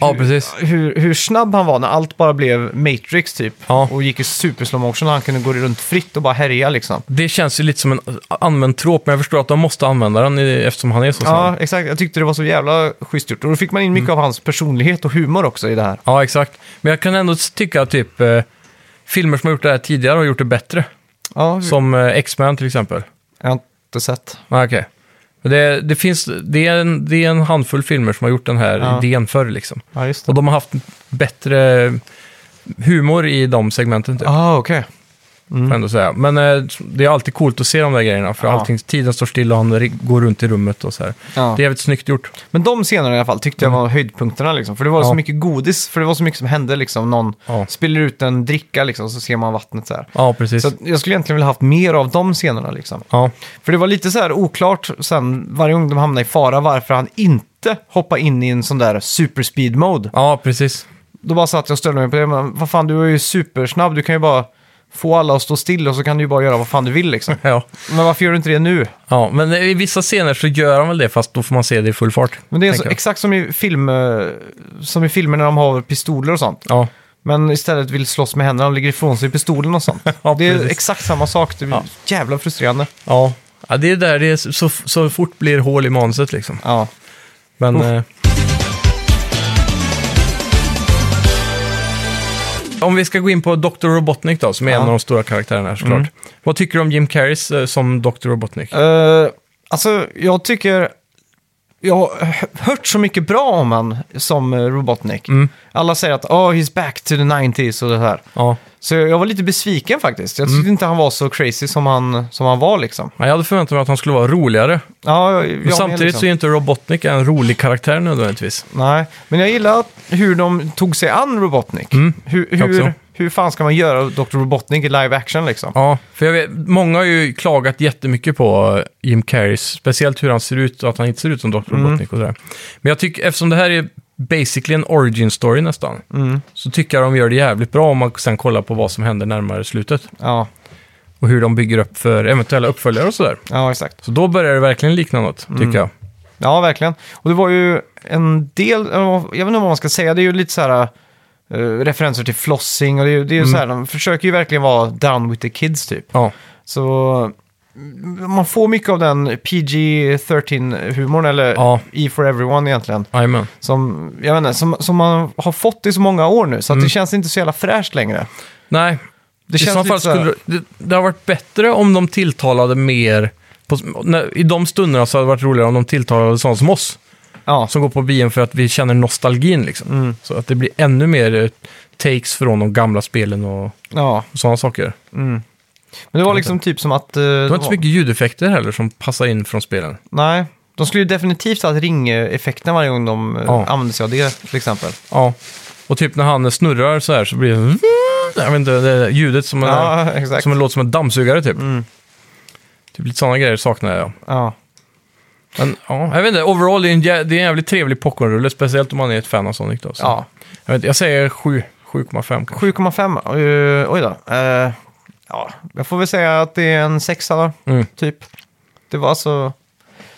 [SPEAKER 2] ja, precis.
[SPEAKER 1] Hur, hur snabb han var när allt bara blev Matrix typ.
[SPEAKER 2] Ja.
[SPEAKER 1] Och gick i super slow motion och han kunde gå runt fritt och bara härja liksom.
[SPEAKER 2] Det känns ju lite som en använd tråp, men jag förstår att de måste använda den i- eftersom han är så snabb.
[SPEAKER 1] Ja, exakt. Jag tyckte det var så jävla schysst gjort. Och då fick man in
[SPEAKER 2] Mm.
[SPEAKER 1] mycket av hans personlighet och humor också i det här.
[SPEAKER 2] Ja, exakt. Men jag kan ändå tycka att typ eh, filmer som har gjort det här tidigare har gjort det bättre.
[SPEAKER 1] Ja,
[SPEAKER 2] Som eh, X-Men till exempel.
[SPEAKER 1] jag har inte sett.
[SPEAKER 2] Ah, okej. Men Det, det, finns, det, är en, det är en handfull filmer som har gjort den här
[SPEAKER 1] Ja.
[SPEAKER 2] idén förr liksom.
[SPEAKER 1] Ja, just
[SPEAKER 2] Och de har haft bättre humor i de segmenten, typ,
[SPEAKER 1] Ah, okej.
[SPEAKER 2] får jag ändå säga. Men eh, det är alltid coolt att se de där grejerna, för
[SPEAKER 1] Ja.
[SPEAKER 2] allting, tiden står stilla och han ri- går runt i rummet och så här.
[SPEAKER 1] Ja.
[SPEAKER 2] Det är jävligt snyggt gjort.
[SPEAKER 1] Men de scenerna i alla fall tyckte jag var höjdpunkterna liksom. För det var
[SPEAKER 2] Mm. Ja.
[SPEAKER 1] så mycket godis, för det var så mycket som hände liksom. Någon
[SPEAKER 2] Ja.
[SPEAKER 1] spiller ut en dricka liksom, så ser man vattnet så här.
[SPEAKER 2] Ja, precis.
[SPEAKER 1] Så att jag skulle egentligen vilja haft mer av de scenerna liksom.
[SPEAKER 2] Ja.
[SPEAKER 1] För det var lite så här oklart sen varje gång de hamnade i fara varför han inte hoppade in i en sån där superspeed mode.
[SPEAKER 2] ja, precis.
[SPEAKER 1] Då bara satt jag och stödde mig på det. Men vad fan, du är ju supersnabb. Du kan ju bara få alla att stå still och så kan du ju bara göra vad fan du vill liksom.
[SPEAKER 2] Ja.
[SPEAKER 1] Men varför gör du inte det nu?
[SPEAKER 2] ja, men i vissa scener så gör han väl det, fast då får man se det i full fart.
[SPEAKER 1] Men det är så,
[SPEAKER 2] tänker jag.
[SPEAKER 1] exakt som i, film, eh, som i filmer när de har pistoler och sånt.
[SPEAKER 2] Ja,
[SPEAKER 1] Men istället vill slåss med händerna och lägger ifrån sig pistolen och sånt.
[SPEAKER 2] Ja,
[SPEAKER 1] det är
[SPEAKER 2] precis.
[SPEAKER 1] exakt samma sak. Det blir jävla frustrerande.
[SPEAKER 2] ja. ja det är där det är så, så fort blir hål i manuset liksom.
[SPEAKER 1] Ja.
[SPEAKER 2] Men...
[SPEAKER 1] Uff.
[SPEAKER 2] Eh, om vi ska gå in på Dr. Robotnik då, som är
[SPEAKER 1] Ja. Mm.
[SPEAKER 2] en av de stora karaktärerna här såklart. Vad tycker du om Jim Carreys eh, som Dr. Robotnik?
[SPEAKER 1] Eh, alltså, jag tycker... Jag har hö- hört så mycket bra om han som eh, Robotnik.
[SPEAKER 2] Mm.
[SPEAKER 1] Alla säger att oh, he's back to the 90s och det här.
[SPEAKER 2] Ja.
[SPEAKER 1] Så jag var lite besviken faktiskt.
[SPEAKER 2] Mm.
[SPEAKER 1] Jag tyckte inte han var så crazy som han, som han var liksom.
[SPEAKER 2] Ja, Jag hade förväntat mig att han skulle vara roligare.
[SPEAKER 1] Ja, jag, jag
[SPEAKER 2] Men
[SPEAKER 1] med,
[SPEAKER 2] samtidigt
[SPEAKER 1] liksom.
[SPEAKER 2] så är inte Robotnik en rolig karaktär nödvändigtvis.
[SPEAKER 1] Nej, men jag gillar att- hur de tog sig an Robotnik. Hur,
[SPEAKER 2] Mm. jag också.
[SPEAKER 1] hur, hur fan ska man göra Dr. Robotnik i live action liksom?
[SPEAKER 2] Ja, för jag vet, många har ju klagat jättemycket på eh, Jim Carreys, speciellt hur han ser ut och att han inte ser ut som Dr.
[SPEAKER 1] Mm.
[SPEAKER 2] Robotnik och sådär. Men jag tycker, eftersom det här är basically en origin story nästan,
[SPEAKER 1] Mm.
[SPEAKER 2] så tycker jag de gör det jävligt bra om man sen kollar på vad som händer närmare slutet.
[SPEAKER 1] Ja,
[SPEAKER 2] Och hur de bygger upp för eventuella uppföljare och sådär.
[SPEAKER 1] ja exakt.
[SPEAKER 2] Så då börjar det verkligen likna något,
[SPEAKER 1] Mm.
[SPEAKER 2] tycker jag.
[SPEAKER 1] Ja, verkligen. Och det var ju en del, eh, jag vet inte vad man ska säga, det är ju lite så här eh, referenser till flossing och det är, ju- det är ju så här,
[SPEAKER 2] Mm.
[SPEAKER 1] de försöker ju verkligen vara down with the kids typ.
[SPEAKER 2] Ja,
[SPEAKER 1] Så mm, man får mycket av den PG-13-humorn, eller
[SPEAKER 2] Ja.
[SPEAKER 1] E for everyone egentligen,
[SPEAKER 2] jajamän.
[SPEAKER 1] som, jag vet inte, som, som man har fått i så många år nu, så att
[SPEAKER 2] Mm.
[SPEAKER 1] det känns inte så jävla fräscht längre.
[SPEAKER 2] Nej,
[SPEAKER 1] Det
[SPEAKER 2] I
[SPEAKER 1] känns
[SPEAKER 2] så
[SPEAKER 1] lite
[SPEAKER 2] fall
[SPEAKER 1] så här-
[SPEAKER 2] skulle det, det har varit bättre om de tilltalade mer... På, när, I de stunderna så hade det varit roligare om de tilltalade sådana som oss.
[SPEAKER 1] Ja,
[SPEAKER 2] som går på bio för att vi känner nostalgin. Liksom.
[SPEAKER 1] Mm.
[SPEAKER 2] Så att det blir ännu mer eh, takes från de gamla spelen och,
[SPEAKER 1] ja.
[SPEAKER 2] och sådana saker.
[SPEAKER 1] Men det var liksom typ som att... eh,
[SPEAKER 2] Det var inte så mycket ljudeffekter heller som passar in från spelen.
[SPEAKER 1] Nej. De skulle ju definitivt ha ring-effekten varje gång de eh,
[SPEAKER 2] Ja.
[SPEAKER 1] använde sig av det, till exempel.
[SPEAKER 2] Ja. Och typ när han snurrar så här så blir det... Jag vet inte, det där ljudet som, en,
[SPEAKER 1] Ja, exakt. Mm.
[SPEAKER 2] som en låt som en dammsugare typ. Typ lite sådana grejer saknar jag.
[SPEAKER 1] Ja.
[SPEAKER 2] Men ja, jag vet inte, overall det är en, jä- det är en jävligt trevlig popcornrulle, speciellt om man är ett fan av Sonic då. Så.
[SPEAKER 1] Ja.
[SPEAKER 2] Jag, vet, inte, jag säger 7, 7,5 kanske.
[SPEAKER 1] 7,5. Uh, oj då. Eh, ja, jag får väl säga att det är en sexa då,
[SPEAKER 2] Mm.
[SPEAKER 1] typ. Det var så...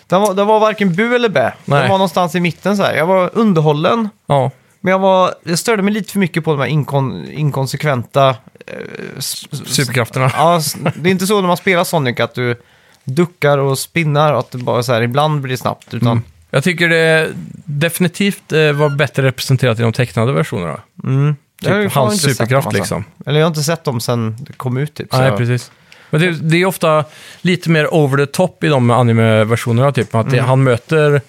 [SPEAKER 1] Den var, den var varken bu eller bä.
[SPEAKER 2] Nej.
[SPEAKER 1] Den var någonstans i mitten så här. Jag var underhållen,
[SPEAKER 2] Ja,
[SPEAKER 1] men jag, var, jag störde mig lite för mycket på de här inkon, inkonsekventa... eh, s- s-
[SPEAKER 2] superkrafterna.
[SPEAKER 1] ja, s- det är inte så när man spelar Sonic att du duckar och spinnar och att det bara så här, ibland blir det snabbt. Utan,
[SPEAKER 2] Jag tycker det definitivt eh, var bättre representerat i de tecknade versionerna.
[SPEAKER 1] Jag har ju
[SPEAKER 2] Typ
[SPEAKER 1] fan
[SPEAKER 2] hans
[SPEAKER 1] inte sett dem,
[SPEAKER 2] superkraft
[SPEAKER 1] alltså.
[SPEAKER 2] liksom.
[SPEAKER 1] Eller jag har inte sett dem sen det kom ut typ. så
[SPEAKER 2] Nej,
[SPEAKER 1] jag-
[SPEAKER 2] precis. Men det, det är ofta lite mer over the top i de anime-versionerna, typ. Att det,
[SPEAKER 1] Mm.
[SPEAKER 2] han möter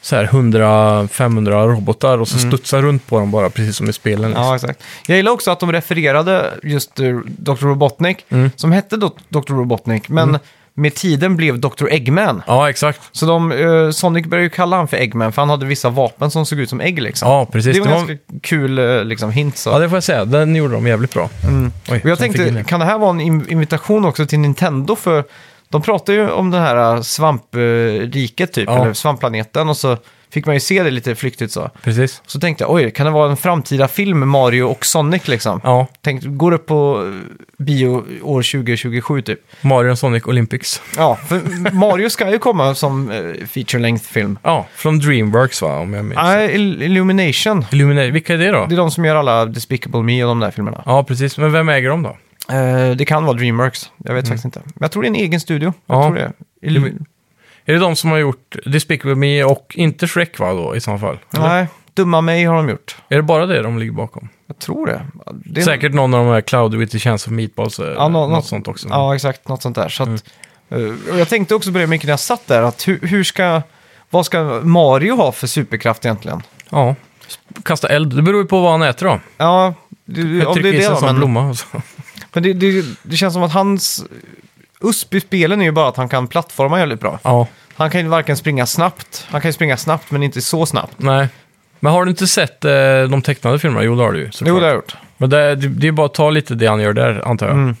[SPEAKER 2] så här 100-500 robotar och så studsar runt på dem bara, precis som i spelen. Liksom.
[SPEAKER 1] Mm. Ja, exakt. Jag gillar också att de refererade just eh, Dr. Robotnik,
[SPEAKER 2] Mm.
[SPEAKER 1] som hette Do- Dr. Robotnik, men med tiden blev Dr. Eggman.
[SPEAKER 2] ja, exakt.
[SPEAKER 1] Så de, eh, Sonic började ju kalla han för Eggman, för han hade vissa vapen som såg ut som ägg liksom.
[SPEAKER 2] Ja, precis.
[SPEAKER 1] det var
[SPEAKER 2] Det
[SPEAKER 1] en
[SPEAKER 2] var-
[SPEAKER 1] ganska kul eh, liksom, hint. Så.
[SPEAKER 2] Ja, det får jag säga. Den gjorde de jävligt bra. Oj,
[SPEAKER 1] Och Mm. jag
[SPEAKER 2] så fick in
[SPEAKER 1] tänkte,
[SPEAKER 2] det.
[SPEAKER 1] kan det här vara en in- invitation också till Nintendo? För De pratar ju om det här äh, svampriket typ,
[SPEAKER 2] Ja.
[SPEAKER 1] eller svampplaneten. Och så fick man ju se det lite flyktigt så.
[SPEAKER 2] Precis.
[SPEAKER 1] Så tänkte jag, oj, kan det vara en framtida film med Mario och Sonic liksom?
[SPEAKER 2] Ja,
[SPEAKER 1] Tänk, går upp på eh, bio år 2027 typ.
[SPEAKER 2] Mario and Sonic Olympics.
[SPEAKER 1] Ja, för Mario ska ju komma som eh, feature length film.
[SPEAKER 2] Ja, från Dreamworks va, om jag minns.
[SPEAKER 1] Nej, Ill- Illumination.
[SPEAKER 2] Illuminati, vilka är det då?
[SPEAKER 1] Det är de som gör alla Despicable Me och de där filmerna.
[SPEAKER 2] Ja, precis. Men vem äger dem då?
[SPEAKER 1] Eh, det kan vara Dreamworks, jag vet faktiskt inte. Men jag tror det är en egen studio. Jag
[SPEAKER 2] Mm. Ja.
[SPEAKER 1] tror det. Illu-
[SPEAKER 2] Är det de som har gjort Despicable Me och inte Shrek va då i så fall? Eller?
[SPEAKER 1] Nej, Dumma mig har de gjort.
[SPEAKER 2] Är det bara det de ligger bakom?
[SPEAKER 1] Jag tror det. det är-
[SPEAKER 2] Säkert någon av de här Cloud with the Chance of Meatballs eller
[SPEAKER 1] Ja, nå-
[SPEAKER 2] något,
[SPEAKER 1] något-
[SPEAKER 2] sånt också.
[SPEAKER 1] Ja, exakt. Något sånt där. Så att,
[SPEAKER 2] Mm.
[SPEAKER 1] eh, och jag tänkte också på det mycket när jag satt där. Att hur, hur ska, vad ska Mario ha för superkraft egentligen?
[SPEAKER 2] Ja. Kasta eld, det beror ju på vad han äter då.
[SPEAKER 1] Ja, du, om
[SPEAKER 2] Jag
[SPEAKER 1] det är
[SPEAKER 2] trycker i
[SPEAKER 1] det
[SPEAKER 2] sig
[SPEAKER 1] då,
[SPEAKER 2] som
[SPEAKER 1] men,
[SPEAKER 2] blomma. och så.
[SPEAKER 1] men det, det, det känns som att hans USP i spelen är ju bara att han kan plattforma jävligt bra.
[SPEAKER 2] Ja,
[SPEAKER 1] Han kan ju varken springa snabbt, han kan ju springa snabbt men inte så snabbt.
[SPEAKER 2] nej. Men har du inte sett eh, de tecknade filmerna? Jo, det har du ju. såklart.
[SPEAKER 1] Jo, det har jag gjort.
[SPEAKER 2] Men det, det, det är bara att ta lite det han gör där, antar jag.
[SPEAKER 1] Mm.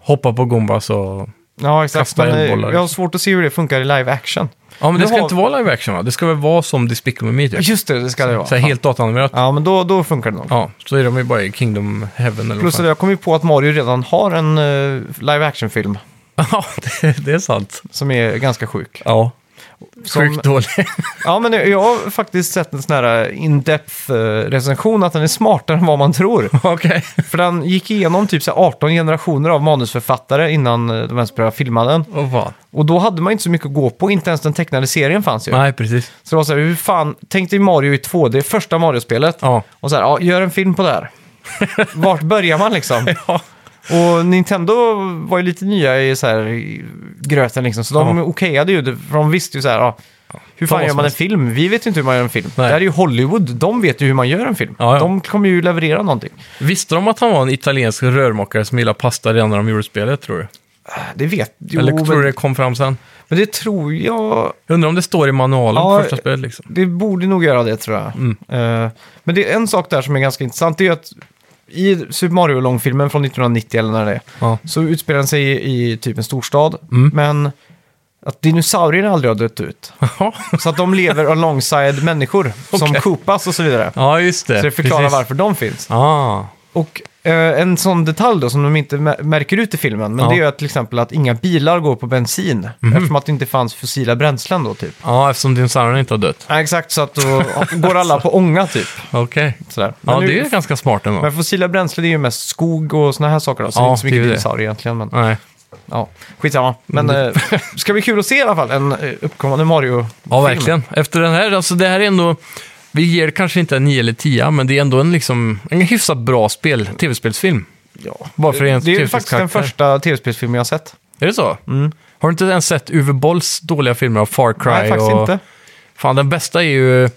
[SPEAKER 2] Hoppa på Gombas och...
[SPEAKER 1] Ja, exakt.
[SPEAKER 2] Kasta
[SPEAKER 1] Men, eh,
[SPEAKER 2] eldbollar.
[SPEAKER 1] jag har svårt att se hur det funkar i live action.
[SPEAKER 2] Ja, men
[SPEAKER 1] Nu
[SPEAKER 2] det ska
[SPEAKER 1] har-
[SPEAKER 2] inte vara live action va? Det ska väl vara som Despicable Me typ?
[SPEAKER 1] Just det, det ska det vara.
[SPEAKER 2] Så här helt dataanimerat.
[SPEAKER 1] Ja, men då, då funkar det nog.
[SPEAKER 2] Ja, så är de ju bara i Kingdom Heaven eller vad
[SPEAKER 1] Plus att
[SPEAKER 2] fan.
[SPEAKER 1] jag kom ju på att Mario redan har en eh, live action-film
[SPEAKER 2] Ja, det, det är sant.
[SPEAKER 1] som är ganska sjuk.
[SPEAKER 2] Ja.
[SPEAKER 1] Som-
[SPEAKER 2] Sjukt dålig.
[SPEAKER 1] Ja, men jag har faktiskt sett en sån här in-depth eh, recension att den är smartare än vad man tror.
[SPEAKER 2] Okej.
[SPEAKER 1] För den gick igenom typ så här 18 generationer av manusförfattare innan eh, de ens började filma den.
[SPEAKER 2] Åh fan.
[SPEAKER 1] Och då hade man inte så mycket att gå på, inte ens den tecknade serien fanns ju.
[SPEAKER 2] Nej, precis.
[SPEAKER 1] Så det var så här, hur fan, tänk dig Mario i 2D, första Mario-spelet.
[SPEAKER 2] Ja.
[SPEAKER 1] Och så här, ja, gör en film på det här. Vart börjar man liksom?
[SPEAKER 2] Ja.
[SPEAKER 1] Och Nintendo var ju lite nya i, så här, i gröten liksom, så de
[SPEAKER 2] Ja.
[SPEAKER 1] okejade ju det, för de visste ju så här, ja, hur
[SPEAKER 2] Ta
[SPEAKER 1] fan
[SPEAKER 2] vad
[SPEAKER 1] gör
[SPEAKER 2] som
[SPEAKER 1] man en
[SPEAKER 2] helst.
[SPEAKER 1] film? Vi vet ju inte hur man gör en film.
[SPEAKER 2] Nej.
[SPEAKER 1] Det här är ju Hollywood, de vet ju hur man gör en film.
[SPEAKER 2] Ja, ja.
[SPEAKER 1] De kommer ju leverera någonting.
[SPEAKER 2] Visste de att han var en italiensk rörmokare som gillade pasta redan när de gjorde spelet, tror du?
[SPEAKER 1] Det vet jo,
[SPEAKER 2] eller tror
[SPEAKER 1] men,
[SPEAKER 2] du det kom fram sen?
[SPEAKER 1] men det tror jag,
[SPEAKER 2] Undrar om det står i manualen
[SPEAKER 1] Ja,
[SPEAKER 2] på första spelet liksom.
[SPEAKER 1] det borde nog göra det tror jag.
[SPEAKER 2] Mm.
[SPEAKER 1] Eh, men det är en sak där som är ganska intressant, det är ju att i Super Mario-långfilmen från 1990 eller när det är,
[SPEAKER 2] Ja.
[SPEAKER 1] så utspelar den sig i, i typ en storstad.
[SPEAKER 2] Mm.
[SPEAKER 1] Men att dinosaurierna aldrig har dött ut. Så att de lever alongside människor som
[SPEAKER 2] Okej.
[SPEAKER 1] Koopas och så vidare.
[SPEAKER 2] ja, just det.
[SPEAKER 1] Så det förklarar
[SPEAKER 2] Precis.
[SPEAKER 1] varför de finns.
[SPEAKER 2] Ah.
[SPEAKER 1] Och eh, en sån detalj då som de inte mä- märker ut i filmen, men
[SPEAKER 2] Ja. Mhm.
[SPEAKER 1] det är ju att till exempel att inga bilar går på bensin. Eftersom att det inte fanns fossila bränslen då typ.
[SPEAKER 2] Ja, eftersom dinosaurierna inte har dött.
[SPEAKER 1] Ja, exakt, så att då går alla på ånga typ.
[SPEAKER 2] Okej.
[SPEAKER 1] Sådär. Men,
[SPEAKER 2] Ja,
[SPEAKER 1] nu-
[SPEAKER 2] det är ganska smart ändå.
[SPEAKER 1] men fossila bränslen är ju mest skog och såna här saker då, så
[SPEAKER 2] Ja,
[SPEAKER 1] det är inte så mycket
[SPEAKER 2] det Mm. är ju det.
[SPEAKER 1] dinosaurier egentligen. Men...
[SPEAKER 2] Nej.
[SPEAKER 1] Ja, skitsamma. Men eh, ska bli kul att se i alla fall en eh, uppkommande Mario-film.
[SPEAKER 2] Ja, verkligen. Efter den här, alltså det här är ändå... Vi ger det kanske inte en 9 eller 10, men det är ändå en, liksom, en hyfsat bra spel, tv-spelsfilm.
[SPEAKER 1] Ja.
[SPEAKER 2] Bara för
[SPEAKER 1] Det
[SPEAKER 2] en
[SPEAKER 1] är ju
[SPEAKER 2] TV-spelskaraktär.
[SPEAKER 1] faktiskt den första tv-spelsfilmen jag har sett.
[SPEAKER 2] Är det så? Har du inte ens sett Uwe Bolls dåliga filmer av Far Cry?
[SPEAKER 1] Nej, faktiskt
[SPEAKER 2] och...
[SPEAKER 1] inte.
[SPEAKER 2] Fan, den bästa är ju...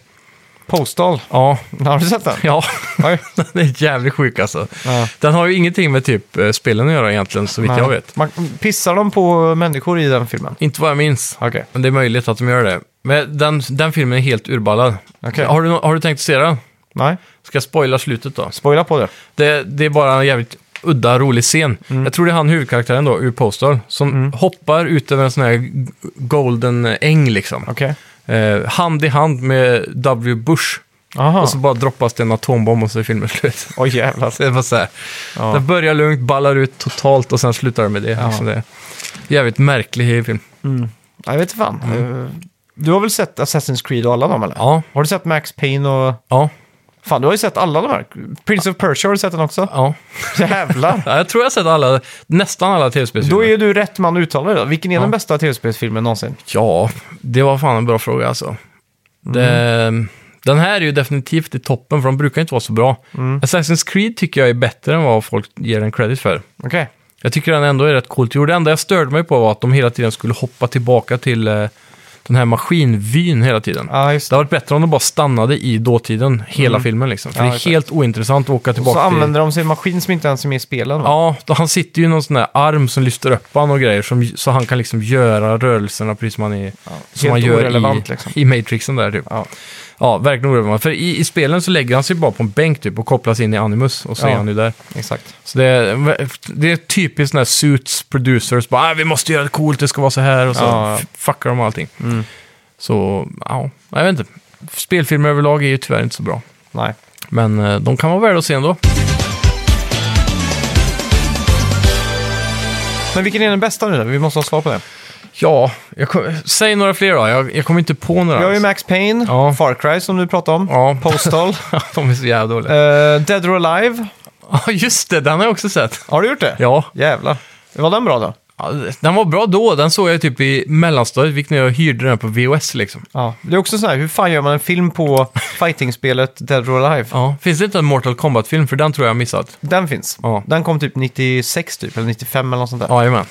[SPEAKER 1] Postal.
[SPEAKER 2] Ja,
[SPEAKER 1] Har du sett den?
[SPEAKER 2] ja.
[SPEAKER 1] Oj.
[SPEAKER 2] den är jävligt sjuk alltså.
[SPEAKER 1] Ja.
[SPEAKER 2] Den har ju ingenting med typ eh, spelen att göra egentligen, så vitt jag
[SPEAKER 1] Nej.
[SPEAKER 2] vet.
[SPEAKER 1] Man, pissar de på människor i den filmen?
[SPEAKER 2] Inte vad jag minns.
[SPEAKER 1] Okej.
[SPEAKER 2] Men det är möjligt att de gör det. Men den, den filmen är helt urballad.
[SPEAKER 1] Okej.
[SPEAKER 2] Har, du, no- har du tänkt se den?
[SPEAKER 1] Nej,
[SPEAKER 2] Ska jag spoila slutet då?
[SPEAKER 1] spoila på det.
[SPEAKER 2] Det, det är bara en jävligt udda, rolig scen.
[SPEAKER 1] Mm.
[SPEAKER 2] Jag tror det är han huvudkaraktären då, ur Postal, som hoppar ut över en sån här g- golden äng liksom.
[SPEAKER 1] Okej.
[SPEAKER 2] Eh, hand i hand med W. Bush.
[SPEAKER 1] Aha.
[SPEAKER 2] Och så bara droppas det en atombomb och så är filmen slut.
[SPEAKER 1] Oj jävlar.
[SPEAKER 2] Så det var så här.
[SPEAKER 1] Ja.
[SPEAKER 2] Den börjar lugnt, ballar ut totalt och sen slutar det med det.
[SPEAKER 1] Ah.
[SPEAKER 2] Liksom det är jävligt märklig film.
[SPEAKER 1] Jag vet inte fan.
[SPEAKER 2] Mm.
[SPEAKER 1] Eh, Du har väl sett Assassin's Creed och alla dem eller?
[SPEAKER 2] Ja,
[SPEAKER 1] Har du sett Max Payne och...
[SPEAKER 2] ja,
[SPEAKER 1] Fan, du har ju sett alla de här. Prince of Persia har du sett den också?
[SPEAKER 2] ja.
[SPEAKER 1] Jävlar.
[SPEAKER 2] ja jag tror jag har sett alla, nästan alla
[SPEAKER 1] Då är
[SPEAKER 2] tv-spelsfilmer.
[SPEAKER 1] ju du rätt man att uttala det då. Vilken är
[SPEAKER 2] Ja.
[SPEAKER 1] den bästa tv-spelsfilmen någonsin?
[SPEAKER 2] Ja, det var fan en bra fråga alltså.
[SPEAKER 1] Mm.
[SPEAKER 2] Det, den här är ju definitivt i toppen, för de brukar inte vara så bra.
[SPEAKER 1] Mm.
[SPEAKER 2] Assassin's Creed tycker jag är bättre än vad folk ger den credit för.
[SPEAKER 1] Okej.
[SPEAKER 2] Jag tycker den ändå är rätt coolt gjord. Det enda jag störde mig på var att de hela tiden skulle hoppa tillbaka till eh, den här maskinvyn hela tiden.
[SPEAKER 1] Ja, just
[SPEAKER 2] Det
[SPEAKER 1] det.
[SPEAKER 2] hade varit bättre om de bara stannade i dåtiden hela filmen liksom. För
[SPEAKER 1] Ja,
[SPEAKER 2] det är
[SPEAKER 1] exakt.
[SPEAKER 2] helt ointressant att åka
[SPEAKER 1] Så
[SPEAKER 2] tillbaka till...
[SPEAKER 1] använder de sig en maskin som inte ens är med i spelen. va?
[SPEAKER 2] Ja, då han sitter ju i någon sån där arm som lyfter upp han och grejer. Som, så han kan liksom göra rörelserna precis som han, är, som
[SPEAKER 1] helt
[SPEAKER 2] han gör i,
[SPEAKER 1] orelevant, liksom.
[SPEAKER 2] i Matrixen där typ.
[SPEAKER 1] Ja.
[SPEAKER 2] Ja, verkligen oroväckande. För i, i spelen så lägger han sig bara på en bänk typ och kopplas in i Animus och så
[SPEAKER 1] Ja.
[SPEAKER 2] är han ju där.
[SPEAKER 1] Exakt.
[SPEAKER 2] Så det är, det är typiskt när Suits producers bara ah, vi måste göra det coolt, det ska vara så här och så
[SPEAKER 1] Ja. Mm.
[SPEAKER 2] f- fuckar de allting. Så, ja, jag vet inte. Spelfilmer överlag är ju tyvärr inte så bra.
[SPEAKER 1] Nej.
[SPEAKER 2] Men eh, de kan vara värda att se ändå.
[SPEAKER 1] Men vilken är den bästa nu då? Vi måste ha svar på det.
[SPEAKER 2] Ja, jag kom, säg några fler då. Jag, jag kommer inte på några.
[SPEAKER 1] Vi har ju
[SPEAKER 2] alls.
[SPEAKER 1] Max Payne,
[SPEAKER 2] Ja.
[SPEAKER 1] Far Cry som du pratade om,
[SPEAKER 2] Ja.
[SPEAKER 1] Postal,
[SPEAKER 2] de är så jävla dåliga.
[SPEAKER 1] eh, Dead or Alive.
[SPEAKER 2] Ja, just det. Den har jag också sett.
[SPEAKER 1] Har du gjort det?
[SPEAKER 2] Ja.
[SPEAKER 1] Jävlar. Var den bra då?
[SPEAKER 2] Ja, Den var bra då. Den såg jag typ i mellanstadiet, vilket jag hyrde den på VHS liksom.
[SPEAKER 1] Ja. Det är också så här, hur fan gör man en film på fighting-spelet Dead or Alive?
[SPEAKER 2] Ja. Finns det inte en Mortal Kombat-film? För den tror jag har missat.
[SPEAKER 1] Den finns.
[SPEAKER 2] Ja.
[SPEAKER 1] Den kom typ 96 typ, eller 95 eller något sånt där.
[SPEAKER 2] Ja, jajamän.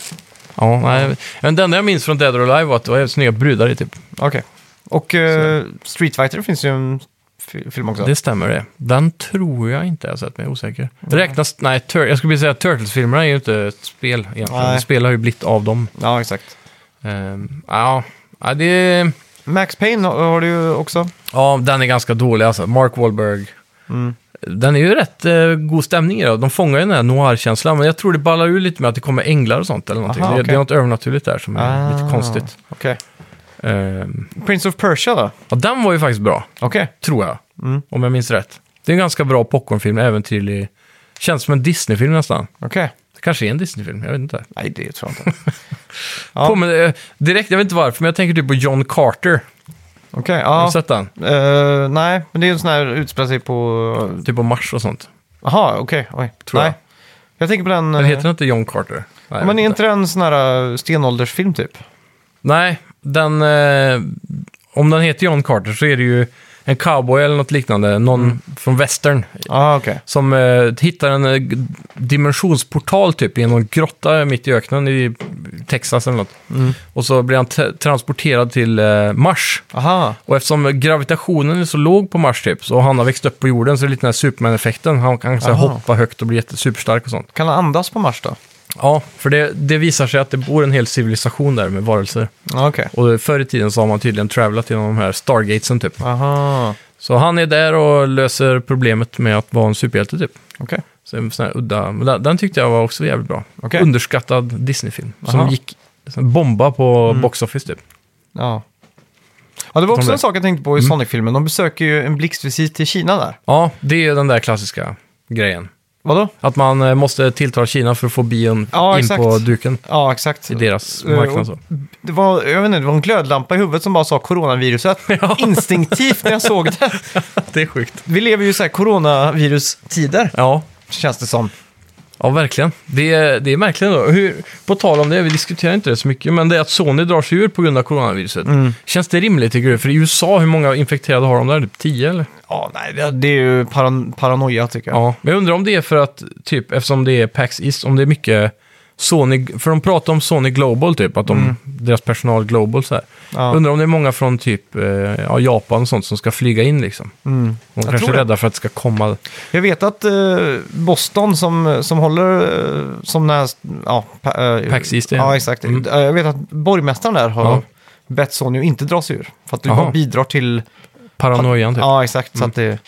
[SPEAKER 2] Ja, nej. Men det enda jag minns från Dead or Alive var att det var snygga brudar i typ.
[SPEAKER 1] Okej. Och eh, Street Fighter finns ju en fi- film också.
[SPEAKER 2] Det stämmer det. Den tror jag inte jag har sett, men jag är osäker. Räknas... Nej, tur- jag skulle vilja säga att Turtles-filmerna är ju inte ett spel egentligen.
[SPEAKER 1] Nej.
[SPEAKER 2] Spel har ju blivit av dem.
[SPEAKER 1] Ja, exakt.
[SPEAKER 2] Ehm, ja, ja, det...
[SPEAKER 1] Max Payne har, har du ju också.
[SPEAKER 2] Ja, den är ganska dålig alltså. Mark Wahlberg.
[SPEAKER 1] Mm.
[SPEAKER 2] Den är ju rätt eh, god stämning i det. De fångar ju den här noir-känslan, men jag tror det ballar ur lite med att det kommer änglar och sånt eller någonting.
[SPEAKER 1] Aha,
[SPEAKER 2] det, det
[SPEAKER 1] okej.
[SPEAKER 2] är något övernaturligt där som är
[SPEAKER 1] Ah.
[SPEAKER 2] lite konstigt.
[SPEAKER 1] Okej.
[SPEAKER 2] Ehm,
[SPEAKER 1] Prince of Persia då?
[SPEAKER 2] ja, den var ju faktiskt bra,
[SPEAKER 1] Okej.
[SPEAKER 2] tror jag.
[SPEAKER 1] Mm.
[SPEAKER 2] Om jag minns rätt. Det är en ganska bra popcornfilm, äventyrlig. Känns som en Disney-film nästan.
[SPEAKER 1] Okej.
[SPEAKER 2] Det kanske är en Disney-film, jag vet inte.
[SPEAKER 1] Nej, det tror jag inte. Ja.
[SPEAKER 2] Påminner, eh, direkt, jag vet inte varför, men jag tänker typ på John Carter.
[SPEAKER 1] Okej,
[SPEAKER 2] Har
[SPEAKER 1] ja.
[SPEAKER 2] du sett den?
[SPEAKER 1] Eh, nej, men det är ju en sån här utspelar sig på...
[SPEAKER 2] Typ på Mars och sånt.
[SPEAKER 1] Jaha, okej. Oj.
[SPEAKER 2] Tror
[SPEAKER 1] nej.
[SPEAKER 2] jag.
[SPEAKER 1] Jag tänker på den...
[SPEAKER 2] Men
[SPEAKER 1] eh,
[SPEAKER 2] heter den inte John Carter? Nej, jag vet
[SPEAKER 1] men är inte det en sån här eh, stenåldersfilm typ?
[SPEAKER 2] Nej, den, eh, om den heter John Carter så är det ju en cowboy eller något liknande, någon från västern,
[SPEAKER 1] Ja, ah, okej.
[SPEAKER 2] som eh, hittar en eh, g- dimensionsportal typ i någon grotta mitt i öknen i Texas eller något. Och så blir han t- transporterad till eh, Mars.
[SPEAKER 1] Aha.
[SPEAKER 2] Och eftersom gravitationen är så låg på Mars typ, så- och han har växt upp på jorden så är det lite den här Superman-effekten. Han kan så här,
[SPEAKER 1] Aha.
[SPEAKER 2] hoppa högt och bli jättesuperstark och sånt.
[SPEAKER 1] Kan han andas på Mars då?
[SPEAKER 2] Ja, för det, det visar sig att det bor en hel civilisation där med varelser.
[SPEAKER 1] Ja, okej.
[SPEAKER 2] Och förr i tiden så har man tydligen travlat genom de här Stargatesen typ.
[SPEAKER 1] Aha.
[SPEAKER 2] Så han är där och löser problemet med att vara en superhjälte typ.
[SPEAKER 1] Okej.
[SPEAKER 2] Så en sån här udda, men den, den tyckte jag var också jävligt bra.
[SPEAKER 1] Okej.
[SPEAKER 2] Underskattad Disney-film. Som
[SPEAKER 1] Aha. Mm.
[SPEAKER 2] gick som bomba på Box Office typ.
[SPEAKER 1] Ja. ja, det var också
[SPEAKER 2] där. Mm.
[SPEAKER 1] en sak jag tänkte på i Sonic-filmen. De besöker ju en blixtvisit till Kina där.
[SPEAKER 2] Ja, det är ju den där klassiska grejen.
[SPEAKER 1] Vadå?
[SPEAKER 2] Att man eh, måste tilltala Kina för att få bion
[SPEAKER 1] Ja,
[SPEAKER 2] in
[SPEAKER 1] exakt.
[SPEAKER 2] på duken.
[SPEAKER 1] Ja, exakt.
[SPEAKER 2] I deras
[SPEAKER 1] Eh,
[SPEAKER 2] marknad
[SPEAKER 1] och
[SPEAKER 2] så.
[SPEAKER 1] Det var, jag vet inte, det var en glödlampa i huvudet som bara sa coronaviruset. Instinktivt när jag såg det.
[SPEAKER 2] Det är sjukt.
[SPEAKER 1] Vi lever ju i så här coronavirustider,
[SPEAKER 2] Ja,
[SPEAKER 1] känns det som.
[SPEAKER 2] Ja, verkligen. Det är, det är märkligt då. Hur, på tal om det, vi diskuterar inte det så mycket, men det är att Sony drar sig ur på grund av coronaviruset.
[SPEAKER 1] Mm.
[SPEAKER 2] Känns det rimligt tycker du? För i USA, hur många infekterade har de där? Typ 10 eller?
[SPEAKER 1] Ja, nej, det, det är ju paran- paranoia tycker jag.
[SPEAKER 2] Ja. Men jag undrar om det är för att, typ, eftersom det är PAX East, om det är mycket Sony, för de pratar om Sony Global typ, att de, deras personal Global så här.
[SPEAKER 1] Mm. Ja.
[SPEAKER 2] Undrar om det är många från typ eh, ja, Japan och sånt som ska flyga in liksom. Mm. De kanske
[SPEAKER 1] tror
[SPEAKER 2] är
[SPEAKER 1] det.
[SPEAKER 2] rädda för att det ska komma.
[SPEAKER 1] Jag vet att eh, Boston som, som håller, eh, som den här, ja, pa, eh,
[SPEAKER 2] PAX East, ja.
[SPEAKER 1] Ja, exakt.
[SPEAKER 2] Mm.
[SPEAKER 1] Eh, Jag vet att borgmästaren där har
[SPEAKER 2] Ja.
[SPEAKER 1] bett Sony att inte dra sig ur. För att det
[SPEAKER 2] Jaha.
[SPEAKER 1] bara bidrar till
[SPEAKER 2] Paranoian typ.
[SPEAKER 1] Ja, exakt. Så att det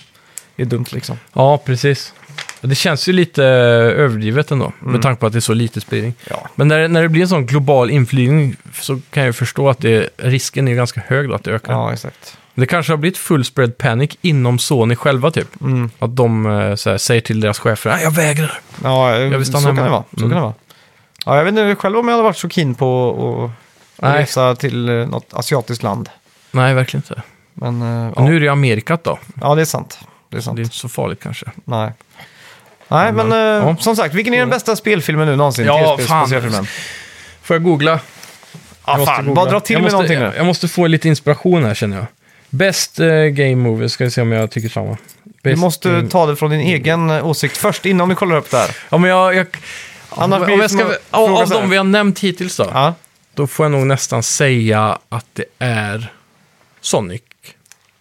[SPEAKER 1] är dumt liksom.
[SPEAKER 2] Ja, precis. Det känns ju lite eh, överdrivet ändå,
[SPEAKER 1] Mm.
[SPEAKER 2] med tanke på att det är så lite spridning.
[SPEAKER 1] Ja.
[SPEAKER 2] Men när, när det blir en sån global inflygning så kan jag ju förstå att det, risken är ju ganska hög då att det ökar.
[SPEAKER 1] Ja, exakt.
[SPEAKER 2] Det kanske har blivit full spread panic inom Sony själva typ.
[SPEAKER 1] Mm.
[SPEAKER 2] Att de eh, så här, säger till deras chefer, "Nej, jag vägrar.
[SPEAKER 1] Ja, eh,
[SPEAKER 2] Jag vill
[SPEAKER 1] så
[SPEAKER 2] stanna
[SPEAKER 1] kan
[SPEAKER 2] hemma.
[SPEAKER 1] det vara. Så
[SPEAKER 2] Mm.
[SPEAKER 1] kan det vara. Ja, jag vet inte själv om jag hade varit så keen på att
[SPEAKER 2] Nej.
[SPEAKER 1] resa till eh, något asiatiskt land.
[SPEAKER 2] Nej, verkligen inte.
[SPEAKER 1] Men eh,
[SPEAKER 2] Men
[SPEAKER 1] ja.
[SPEAKER 2] Nu är det ju Amerikat då.
[SPEAKER 1] ja, det är sant. Det är sant.
[SPEAKER 2] Det är inte så farligt kanske.
[SPEAKER 1] Nej. Nej, men eh,
[SPEAKER 2] ja.
[SPEAKER 1] som sagt, vilken är den bästa spelfilmen nu någonsin?
[SPEAKER 2] Ja,
[SPEAKER 1] TSP,
[SPEAKER 2] fan.
[SPEAKER 1] specialfilmen.
[SPEAKER 2] Får jag googla? Jag
[SPEAKER 1] Ja,
[SPEAKER 2] måste
[SPEAKER 1] fan.
[SPEAKER 2] googla.
[SPEAKER 1] Bara dra till
[SPEAKER 2] jag
[SPEAKER 1] med
[SPEAKER 2] måste,
[SPEAKER 1] någonting nu.
[SPEAKER 2] Jag måste få lite inspiration här känner jag. Best eh, game movie, ska vi se om jag tycker samma.
[SPEAKER 1] Du
[SPEAKER 2] Best, eh,
[SPEAKER 1] måste ta det från din egen eh, åsikt först, innan vi kollar upp det här.
[SPEAKER 2] Ja, men jag... jag
[SPEAKER 1] Annars
[SPEAKER 2] om,
[SPEAKER 1] blir
[SPEAKER 2] om
[SPEAKER 1] det
[SPEAKER 2] jag
[SPEAKER 1] som
[SPEAKER 2] ska,
[SPEAKER 1] att
[SPEAKER 2] av,
[SPEAKER 1] fråga
[SPEAKER 2] av
[SPEAKER 1] så här.
[SPEAKER 2] de vi har nämnt hittills då,
[SPEAKER 1] Ja.
[SPEAKER 2] då får jag nog nästan säga att det är Sonic.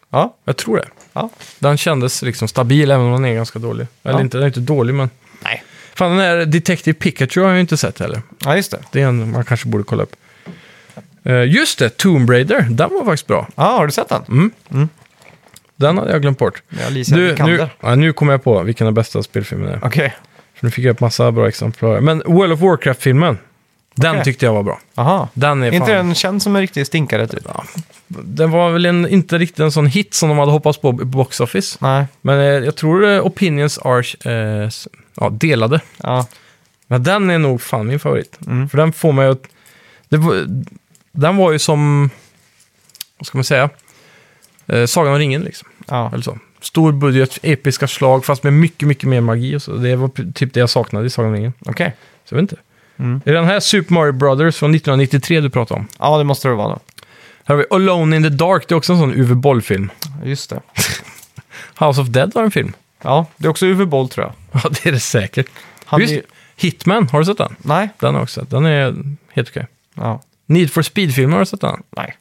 [SPEAKER 1] Ja.
[SPEAKER 2] Jag tror det.
[SPEAKER 1] ja.
[SPEAKER 2] Den kändes liksom stabil, även om den är ganska dålig. Eller
[SPEAKER 1] Ja.
[SPEAKER 2] inte, den är inte dålig, men...
[SPEAKER 1] Nej.
[SPEAKER 2] Fan, den här Detective Pikachu har jag ju inte sett heller.
[SPEAKER 1] Ja, just det.
[SPEAKER 2] Det är en man kanske borde kolla upp. Eh, just det, Tomb Raider. Den var faktiskt bra.
[SPEAKER 1] Mm. Ja, har du sett den?
[SPEAKER 2] Den hade jag glömt bort.
[SPEAKER 1] Ja, Alicia
[SPEAKER 2] nu,
[SPEAKER 1] Vikander.
[SPEAKER 2] ja, nu kommer jag på vilken den bästa spelfilmen är.
[SPEAKER 1] Okej.
[SPEAKER 2] För nu fick jag upp massa bra exemplar. Men World of Warcraft-filmen. Den
[SPEAKER 1] Okej.
[SPEAKER 2] tyckte jag var bra.
[SPEAKER 1] Aha.
[SPEAKER 2] Den är
[SPEAKER 1] Är
[SPEAKER 2] fan...
[SPEAKER 1] inte den känd som en riktig stinkare typ?
[SPEAKER 2] Den var väl en, inte riktigt en sån hit som de hade hoppats på i Box Office.
[SPEAKER 1] Nej.
[SPEAKER 2] Men eh, jag tror eh, Opinions are eh, s- ja, delade.
[SPEAKER 1] Ja.
[SPEAKER 2] Men den är nog fan min favorit.
[SPEAKER 1] Mm.
[SPEAKER 2] För den får mig att... Det, var- den var ju som... Vad ska man säga? Eh, Sagan om ringen liksom.
[SPEAKER 1] ja.
[SPEAKER 2] Eller så. Stor budget, episka slag, fast med mycket, mycket mer magi och så. Det var p- typ det jag saknade i Sagan om ringen.
[SPEAKER 1] Okej.
[SPEAKER 2] Så jag vet inte.
[SPEAKER 1] Mm.
[SPEAKER 2] Är den här Super Mario Brothers från 1993 du pratar om?
[SPEAKER 1] Ja, det måste det vara då.
[SPEAKER 2] Här har vi Alone in the Dark, det är också en sån Uwe Boll-film.
[SPEAKER 1] Just det.
[SPEAKER 2] House of Dead var en film.
[SPEAKER 1] Ja, det är också Uwe Boll tror jag.
[SPEAKER 2] Ja, det är det säkert.
[SPEAKER 1] Han
[SPEAKER 2] Just
[SPEAKER 1] är...
[SPEAKER 2] Hitman, har du sett den?
[SPEAKER 1] Nej.
[SPEAKER 2] Den har jag också sett. Den är helt okej.
[SPEAKER 1] Ja.
[SPEAKER 2] Need for Speed-filmen, har du sett den?
[SPEAKER 1] Nej.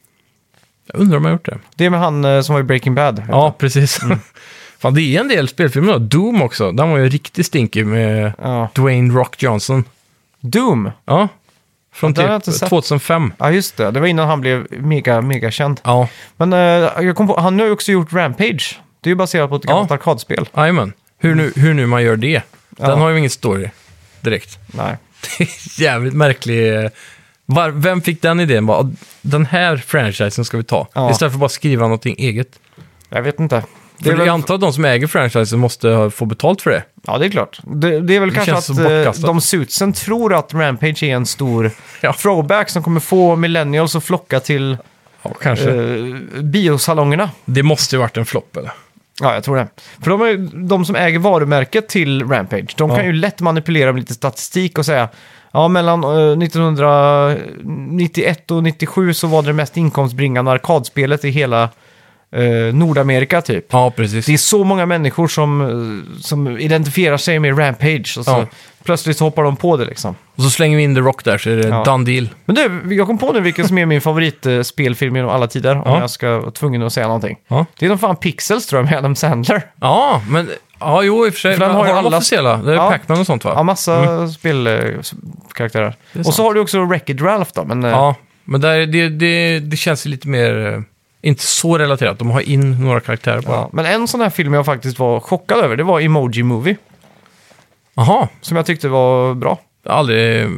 [SPEAKER 2] Jag undrar om jag har gjort det.
[SPEAKER 1] Det är med han eh, som var i Breaking Bad. heter
[SPEAKER 2] Ja, precis.
[SPEAKER 1] Mm.
[SPEAKER 2] Fan, det är en del spelfilmer då. Doom också. Den var ju riktigt stinkig med
[SPEAKER 1] han. ja.
[SPEAKER 2] Dwayne Rock Johnson.
[SPEAKER 1] Doom.
[SPEAKER 2] Ja. Från
[SPEAKER 1] Den har jag inte
[SPEAKER 2] typ
[SPEAKER 1] sett.
[SPEAKER 2] 2005.
[SPEAKER 1] Ja, just det. Det var innan han blev mega, mega känd.
[SPEAKER 2] Ja,
[SPEAKER 1] Men eh, jag kom på, han har ju också gjort Rampage. Det är ju baserat på ett
[SPEAKER 2] Ja.
[SPEAKER 1] gammalt arkadspel.
[SPEAKER 2] jajamän. Hur nu, hur nu man gör det. Den
[SPEAKER 1] Ja.
[SPEAKER 2] har ju ingen story direkt.
[SPEAKER 1] Nej.
[SPEAKER 2] Det är jävligt märklig. eh, Var, vem fick den idén? Bara, "Ah, den här franchisen ska vi ta.
[SPEAKER 1] Ja.
[SPEAKER 2] Istället för att bara skriva någonting eget.
[SPEAKER 1] Jag vet inte. Det
[SPEAKER 2] För
[SPEAKER 1] är
[SPEAKER 2] jag
[SPEAKER 1] väl,
[SPEAKER 2] antar att de som äger franchisen måste ha- få betalt för det.
[SPEAKER 1] ja, det är klart. Det, det är väl kanske
[SPEAKER 2] känns
[SPEAKER 1] att
[SPEAKER 2] så
[SPEAKER 1] eh,
[SPEAKER 2] bortkastat.
[SPEAKER 1] de suitsen tror att Rampage är en stor
[SPEAKER 2] Ja.
[SPEAKER 1] throwback som kommer få millennials att flocka till
[SPEAKER 2] Ja, kanske.
[SPEAKER 1] eh, biosalongerna.
[SPEAKER 2] Det måste ju varit en flopp eller?
[SPEAKER 1] Ja, jag tror det. För de, är, de som äger varumärket till Rampage, de
[SPEAKER 2] Ja.
[SPEAKER 1] kan ju lätt manipulera med lite statistik och säga Ja, mellan eh, 1991 och 97 så var det det mest inkomstbringande arkadspelet i hela eh, Nordamerika typ.
[SPEAKER 2] Ja, precis.
[SPEAKER 1] Det är så många människor som, eh, som identifierar sig med Rampage och så
[SPEAKER 2] Ja.
[SPEAKER 1] plötsligt hoppar de på det liksom.
[SPEAKER 2] Och så slänger vi in The Rock där så är det
[SPEAKER 1] Ja.
[SPEAKER 2] done deal.
[SPEAKER 1] Men du, jag kom på nu vilken som är min favoritspelfilm genom alla tider, om
[SPEAKER 2] Ja.
[SPEAKER 1] jag ska vara tvungen att säga någonting.
[SPEAKER 2] Ja.
[SPEAKER 1] Det är de fan Pixels tror jag med Adam Sandler.
[SPEAKER 2] Ja, men... Ja, jo, i och för sig.
[SPEAKER 1] För den
[SPEAKER 2] Men
[SPEAKER 1] har ju
[SPEAKER 2] de
[SPEAKER 1] alla-
[SPEAKER 2] officiella? Det är
[SPEAKER 1] Ja.
[SPEAKER 2] Pac-Man och sånt, va?
[SPEAKER 1] Ja, massa
[SPEAKER 2] Mm.
[SPEAKER 1] spelkaraktärer.
[SPEAKER 2] Det är
[SPEAKER 1] Och
[SPEAKER 2] sant.
[SPEAKER 1] så har du också Wreck-It Ralph då, men eh,
[SPEAKER 2] Ja, men där, det, det, det känns ju lite mer... eh, Inte så relaterat. De har in några karaktärer bara.
[SPEAKER 1] ja. Men en sån här film jag faktiskt var chockad över, det var Emoji Movie.
[SPEAKER 2] Jaha,
[SPEAKER 1] Som jag tyckte var bra.
[SPEAKER 2] jag har aldrig...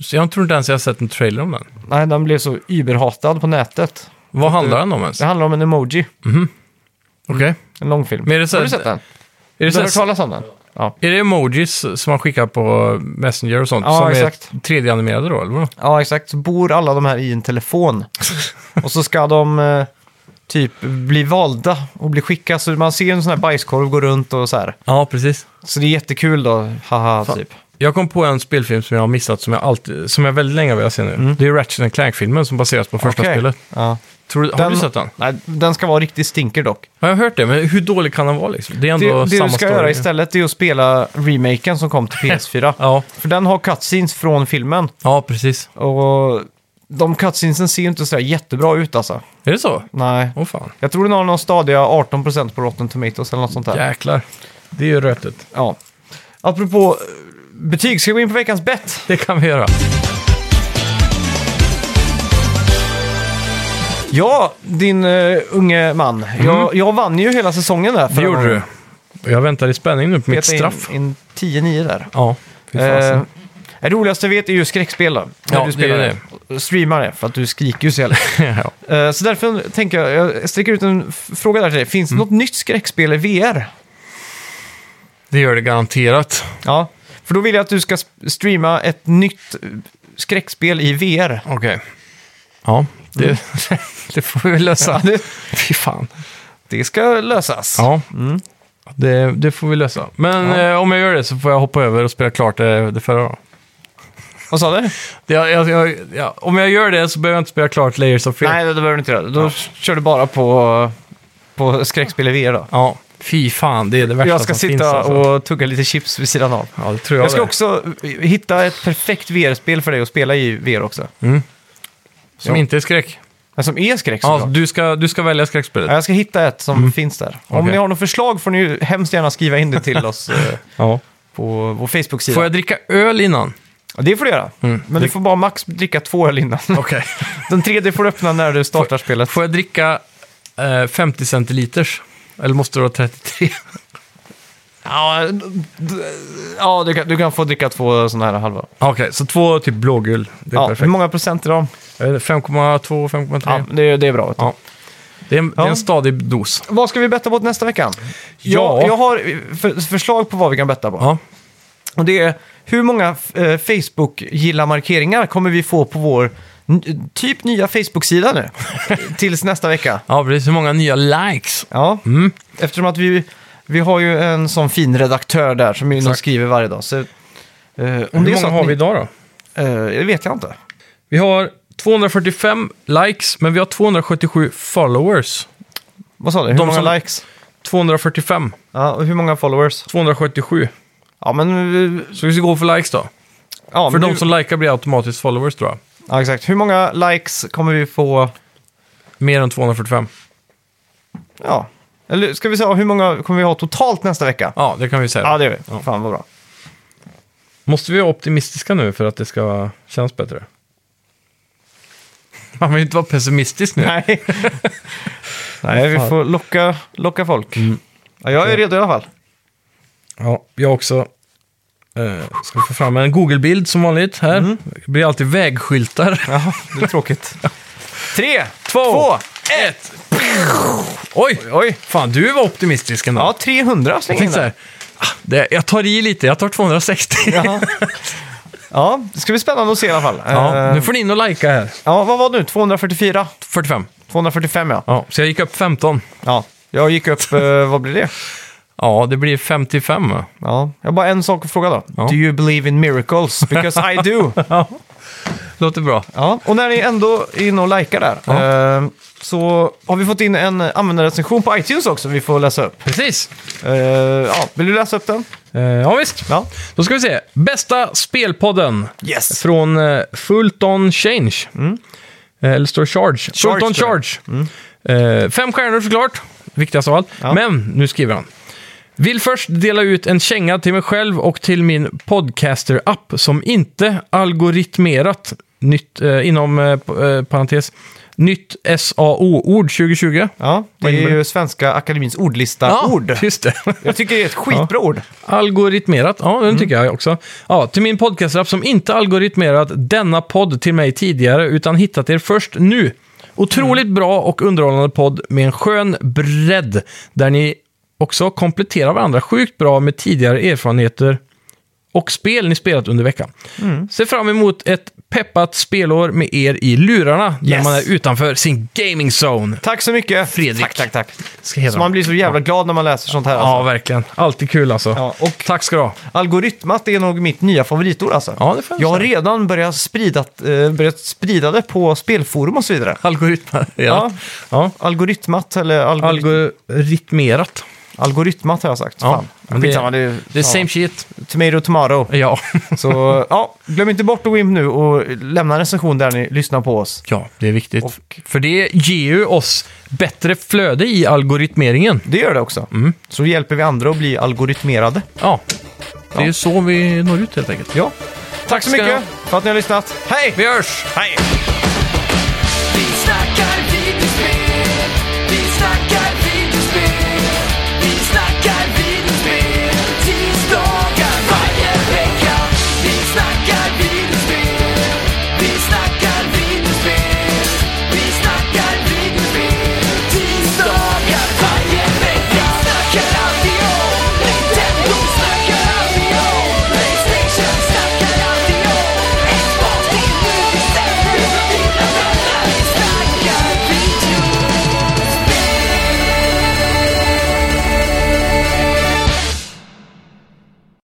[SPEAKER 2] Så jag tror inte ens jag har sett en trailer om den.
[SPEAKER 1] Nej, den blev så überhatad på nätet.
[SPEAKER 2] Vad handlar den om ens?
[SPEAKER 1] Det handlar om en emoji,
[SPEAKER 2] Okej.
[SPEAKER 1] en långfilm.
[SPEAKER 2] Men är det så
[SPEAKER 1] har
[SPEAKER 2] här-
[SPEAKER 1] du sett den?
[SPEAKER 2] Är det,
[SPEAKER 1] Du
[SPEAKER 2] så
[SPEAKER 1] har
[SPEAKER 2] här,
[SPEAKER 1] hört talas om den? Ja.
[SPEAKER 2] är det emojis som man skickar på Messenger och sånt?
[SPEAKER 1] Ja,
[SPEAKER 2] som
[SPEAKER 1] exakt.
[SPEAKER 2] är 3D-animerade då, eller vadå?
[SPEAKER 1] ja, exakt. Så bor alla de här i en telefon. och så ska de eh, typ bli valda och bli skickade. Så man ser en sån här bajskorv gå runt och så här.
[SPEAKER 2] Ja, precis.
[SPEAKER 1] Så det är jättekul då, haha, typ.
[SPEAKER 2] Jag kom på en spelfilm som jag har missat, som jag, alltid, som jag väldigt länge vill se nu. Det är Ratchet and Clank-filmen som baseras på första
[SPEAKER 1] Mm. Okej.
[SPEAKER 2] spelet.
[SPEAKER 1] Ja.
[SPEAKER 2] Tror du, har du sett den?
[SPEAKER 1] Nej, den ska vara riktigt stinker dock.
[SPEAKER 2] Ja, jag har hört det, men hur dålig kan den vara liksom? Det är
[SPEAKER 1] Det,
[SPEAKER 2] ändå
[SPEAKER 1] det
[SPEAKER 2] samma
[SPEAKER 1] du ska
[SPEAKER 2] story.
[SPEAKER 1] göra istället är att spela remaken som kom till PS4.
[SPEAKER 2] Ja,
[SPEAKER 1] För den har cutscenes från filmen.
[SPEAKER 2] ja, precis.
[SPEAKER 1] Och de cutscenesen ser ju inte sådär jättebra ut alltså.
[SPEAKER 2] Är det så?
[SPEAKER 1] Nej.
[SPEAKER 2] Åh fan,
[SPEAKER 1] Jag tror den har någon stadiga 18% på Rotten Tomatoes eller något sånt där.
[SPEAKER 2] jäklar. Det är ju rötet.
[SPEAKER 1] Ja. Apropå eh, betyg, ska vi gå in på veckans bett?
[SPEAKER 2] Det kan vi göra.
[SPEAKER 1] Ja, din eh, unge man. Jag, jag vann ju hela säsongen där.
[SPEAKER 2] Mm. Det gjorde du. Och Jag väntar i spänning nu på mitt
[SPEAKER 1] Mitt
[SPEAKER 2] straff.
[SPEAKER 1] straff. In, in 10-9 där.
[SPEAKER 2] Ja, fy fasen.
[SPEAKER 1] Eh, det roligaste jag vet är ju skräckspel då. När
[SPEAKER 2] Ja,
[SPEAKER 1] du
[SPEAKER 2] det
[SPEAKER 1] spelar
[SPEAKER 2] är
[SPEAKER 1] det. Streamar det, för att du skriker ju så jävla.
[SPEAKER 2] ja.
[SPEAKER 1] Eh, Så därför tänker jag, jag sträcker ut en f- fråga där till dig. Finns det något nytt skräckspel i VR?
[SPEAKER 2] Det gör det garanterat.
[SPEAKER 1] Ja, för då vill jag att du ska sp- streama ett nytt eh, skräckspel i VR.
[SPEAKER 2] Okej. Ja, det, det får vi väl lösa.
[SPEAKER 1] Mm. det-
[SPEAKER 2] Fy fan.
[SPEAKER 1] Det ska lösas.
[SPEAKER 2] Ja, det, det får vi lösa. Men
[SPEAKER 1] Mm. Ja.
[SPEAKER 2] eh, om jag gör det så får jag hoppa över och spela klart eh, det, det förra. då.
[SPEAKER 1] Vad sa du?
[SPEAKER 2] Det, jag, jag, jag, ja, om jag gör det så behöver jag inte spela klart Layers of Fear.
[SPEAKER 1] Nej, det behöver du inte göra. Då kör du bara på, på skräckspel i VR då.
[SPEAKER 2] Ja, fy fan. Det är det värsta
[SPEAKER 1] Jag ska
[SPEAKER 2] som finns.
[SPEAKER 1] sitta
[SPEAKER 2] alltså.
[SPEAKER 1] och tugga lite chips vid sidan av.
[SPEAKER 2] Ja, det tror jag
[SPEAKER 1] Jag ska
[SPEAKER 2] det.
[SPEAKER 1] också eh, hitta ett perfekt VR-spel för dig att spela i VR också.
[SPEAKER 2] Som
[SPEAKER 1] Ja.
[SPEAKER 2] inte är skräck.
[SPEAKER 1] Men som är skräck
[SPEAKER 2] Ja,
[SPEAKER 1] såklart.
[SPEAKER 2] du, ska, du ska välja skräckspelet.
[SPEAKER 1] Ja, Jag ska hitta ett som finns där. Om
[SPEAKER 2] Okej.
[SPEAKER 1] ni har något förslag får ni ju hemskt gärna skriva in det till oss eh,
[SPEAKER 2] Ja.
[SPEAKER 1] på vår Facebook-sida.
[SPEAKER 2] Får jag Mm. dricka öl innan?
[SPEAKER 1] Ja, Det får du göra. Men du får bara max dricka två öl innan.
[SPEAKER 2] Okej.
[SPEAKER 1] Den tredje får du öppna när du startar spelet.
[SPEAKER 2] Får jag dricka eh, 50 centiliters? Eller måste det vara 33?
[SPEAKER 1] Ja, d- d- ja du, kan, du kan få dricka två sådana här halva.
[SPEAKER 2] Okej, så två typ blågul. Det är
[SPEAKER 1] Ja, hur
[SPEAKER 2] perfekt.
[SPEAKER 1] många procent är de?
[SPEAKER 2] Jag vet inte, 5,2, 5,3.
[SPEAKER 1] Ja, det, det är bra.
[SPEAKER 2] Ja. Det, är en, det är
[SPEAKER 1] Ja.
[SPEAKER 2] en stadig dos.
[SPEAKER 1] Vad ska vi betta på nästa vecka?
[SPEAKER 2] Ja.
[SPEAKER 1] Jag, jag har eh, för, förslag på vad vi kan betta på.
[SPEAKER 2] Ja.
[SPEAKER 1] Och det är hur många eh, Facebook-gilla-markeringar kommer vi få på vår n- typ nya Facebook-sida nu? Tills nästa vecka.
[SPEAKER 2] ja, precis. Hur många nya likes?
[SPEAKER 1] Ja,
[SPEAKER 2] Mm.
[SPEAKER 1] eftersom att vi, vi har ju en sån fin redaktör där som ju
[SPEAKER 2] Exakt.
[SPEAKER 1] skriver varje dag. Så, eh, om
[SPEAKER 2] Hur
[SPEAKER 1] det är så
[SPEAKER 2] många
[SPEAKER 1] att
[SPEAKER 2] har
[SPEAKER 1] ni-
[SPEAKER 2] vi idag då?
[SPEAKER 1] Eh, det vet jag inte.
[SPEAKER 2] Vi har 245 likes, men vi har 277 followers.
[SPEAKER 1] Vad sa du? Hur
[SPEAKER 2] De
[SPEAKER 1] många
[SPEAKER 2] som-
[SPEAKER 1] likes?
[SPEAKER 2] 245,
[SPEAKER 1] Ja, och hur många followers?
[SPEAKER 2] 277.
[SPEAKER 1] Ja, men... eh,
[SPEAKER 2] Så vi ska gå för likes då.
[SPEAKER 1] Ja,
[SPEAKER 2] För
[SPEAKER 1] nu-
[SPEAKER 2] de som likar blir automatiskt followers tror jag.
[SPEAKER 1] Ja, exakt. Hur många likes kommer vi få?
[SPEAKER 2] Mer än 245.
[SPEAKER 1] Ja. Eller ska vi säga hur många kommer vi ha totalt nästa vecka? Ja,
[SPEAKER 2] Ja, det kan vi säga.
[SPEAKER 1] det gör vi.
[SPEAKER 2] Ja.
[SPEAKER 1] Fan vad bra.
[SPEAKER 2] Måste vi vara optimistiska nu för att det ska kännas bättre? Man vill ju inte vara pessimistisk nu.
[SPEAKER 1] Nej. Nej, vi får locka, locka folk. Mm. Ja, jag är redo i alla fall.
[SPEAKER 2] Ja, jag också. Eh, ska få fram en Google-bild som vanligt här. Det blir alltid vägskyltar.
[SPEAKER 1] Mm. Ja, det är tråkigt. Tre, två,
[SPEAKER 2] ett! Oj!
[SPEAKER 1] Oj.
[SPEAKER 2] Fan, du var optimistisk ändå.
[SPEAKER 1] Ja, 300
[SPEAKER 2] jag
[SPEAKER 1] slänger in
[SPEAKER 2] tänkte så
[SPEAKER 1] där.
[SPEAKER 2] här. ah, Det, jag tar i lite, jag tar 260.
[SPEAKER 1] Ja. ja, det ska bli spännande att se i alla fall.
[SPEAKER 2] Ja,
[SPEAKER 1] Eh,
[SPEAKER 2] nu får ni in och likea här.
[SPEAKER 1] ja vad var det nu? 244?
[SPEAKER 2] 45.
[SPEAKER 1] 245 ja.
[SPEAKER 2] Ja, så jag gick upp 15.
[SPEAKER 1] Ja, jag gick upp, eh, vad blir det?
[SPEAKER 2] Ja, det blir 55. va?
[SPEAKER 1] Ja, jag har bara en sak att fråga då.
[SPEAKER 2] Ja.
[SPEAKER 1] Do you believe in miracles? Because I do.
[SPEAKER 2] Låter bra.
[SPEAKER 1] Ja, och när ni ändå är inne och likar där eh, så har vi fått in en användarrecension på iTunes också vi får läsa upp.
[SPEAKER 2] Precis.
[SPEAKER 1] Eh, ja, vill du läsa upp den?
[SPEAKER 2] Eh, ja, visst.
[SPEAKER 1] Ja.
[SPEAKER 2] Då ska vi se. Bästa spelpodden
[SPEAKER 1] Yes! Mm.
[SPEAKER 2] från eh, Fulton Change. Eh, eller står det Charge? Fulton
[SPEAKER 1] tror jag.
[SPEAKER 2] Charge. Eh, fem stjärnor såklart. Viktigast av allt.
[SPEAKER 1] Mm. Ja.
[SPEAKER 2] Men nu skriver han. Vill först dela ut en känga till mig själv och till min podcaster-app som inte algoritmerat, nytt, eh, inom eh, p- eh, parentes, nytt SAO-ord 2020.
[SPEAKER 1] Ja, det
[SPEAKER 2] Vad
[SPEAKER 1] är
[SPEAKER 2] innebär
[SPEAKER 1] ju Svenska Akademins ordlista-ord.
[SPEAKER 2] just det.
[SPEAKER 1] jag tycker det är ett skitbra ord.
[SPEAKER 2] Algoritmerat, ja den tycker jag också. Ja, till min podcastrapp som inte algoritmerat denna podd till mig tidigare utan hittat er först nu. Otroligt bra och underhållande podd med en skön bredd där ni också kompletterar varandra sjukt bra med tidigare erfarenheter och spel ni spelat under veckan. Ser fram emot ett peppat spelår med er i lurarna när
[SPEAKER 1] Yes.
[SPEAKER 2] man är utanför sin gaming zone.
[SPEAKER 1] Tack så mycket!
[SPEAKER 2] Fredrik.
[SPEAKER 1] Tack, tack, tack.
[SPEAKER 2] Ska heta
[SPEAKER 1] Så man
[SPEAKER 2] dem.
[SPEAKER 1] blir så jävla glad när man läser sånt här.
[SPEAKER 2] Ja,
[SPEAKER 1] Alltså.
[SPEAKER 2] verkligen. Alltid kul alltså.
[SPEAKER 1] Ja, och-
[SPEAKER 2] Tack ska du ha.
[SPEAKER 1] Algoritmat är nog mitt nya favoritord alltså.
[SPEAKER 2] Ja, det får jag
[SPEAKER 1] jag har redan börjat sprida, eh, börjat sprida det på spelforum och så vidare.
[SPEAKER 2] Algoritmerat. Ja. ja.
[SPEAKER 1] Algoritmat eller algorit-
[SPEAKER 2] Algoritmerat.
[SPEAKER 1] algoritmat har jag sagt.
[SPEAKER 2] Ja,
[SPEAKER 1] Fan.
[SPEAKER 2] men det-
[SPEAKER 1] Skitsamma, det, är-
[SPEAKER 2] Det är same shit.
[SPEAKER 1] ja, tomato tomorrow.
[SPEAKER 2] Ja.
[SPEAKER 1] Så ja, glöm inte bort Wimp nu och lämna en recension där ni lyssnar på oss.
[SPEAKER 2] ja, det är viktigt.
[SPEAKER 1] Och-
[SPEAKER 2] För det ger ju oss bättre flöde i algoritmeringen.
[SPEAKER 1] Det gör det också. Mm. Så hjälper vi andra att bli algoritmerade.
[SPEAKER 2] Ja. Det är ju så vi når ut helt enkelt.
[SPEAKER 1] Ja. Tack så
[SPEAKER 2] ska ni
[SPEAKER 1] mycket för att ni har lyssnat. Hej!
[SPEAKER 2] Vi hörs!
[SPEAKER 1] Hej!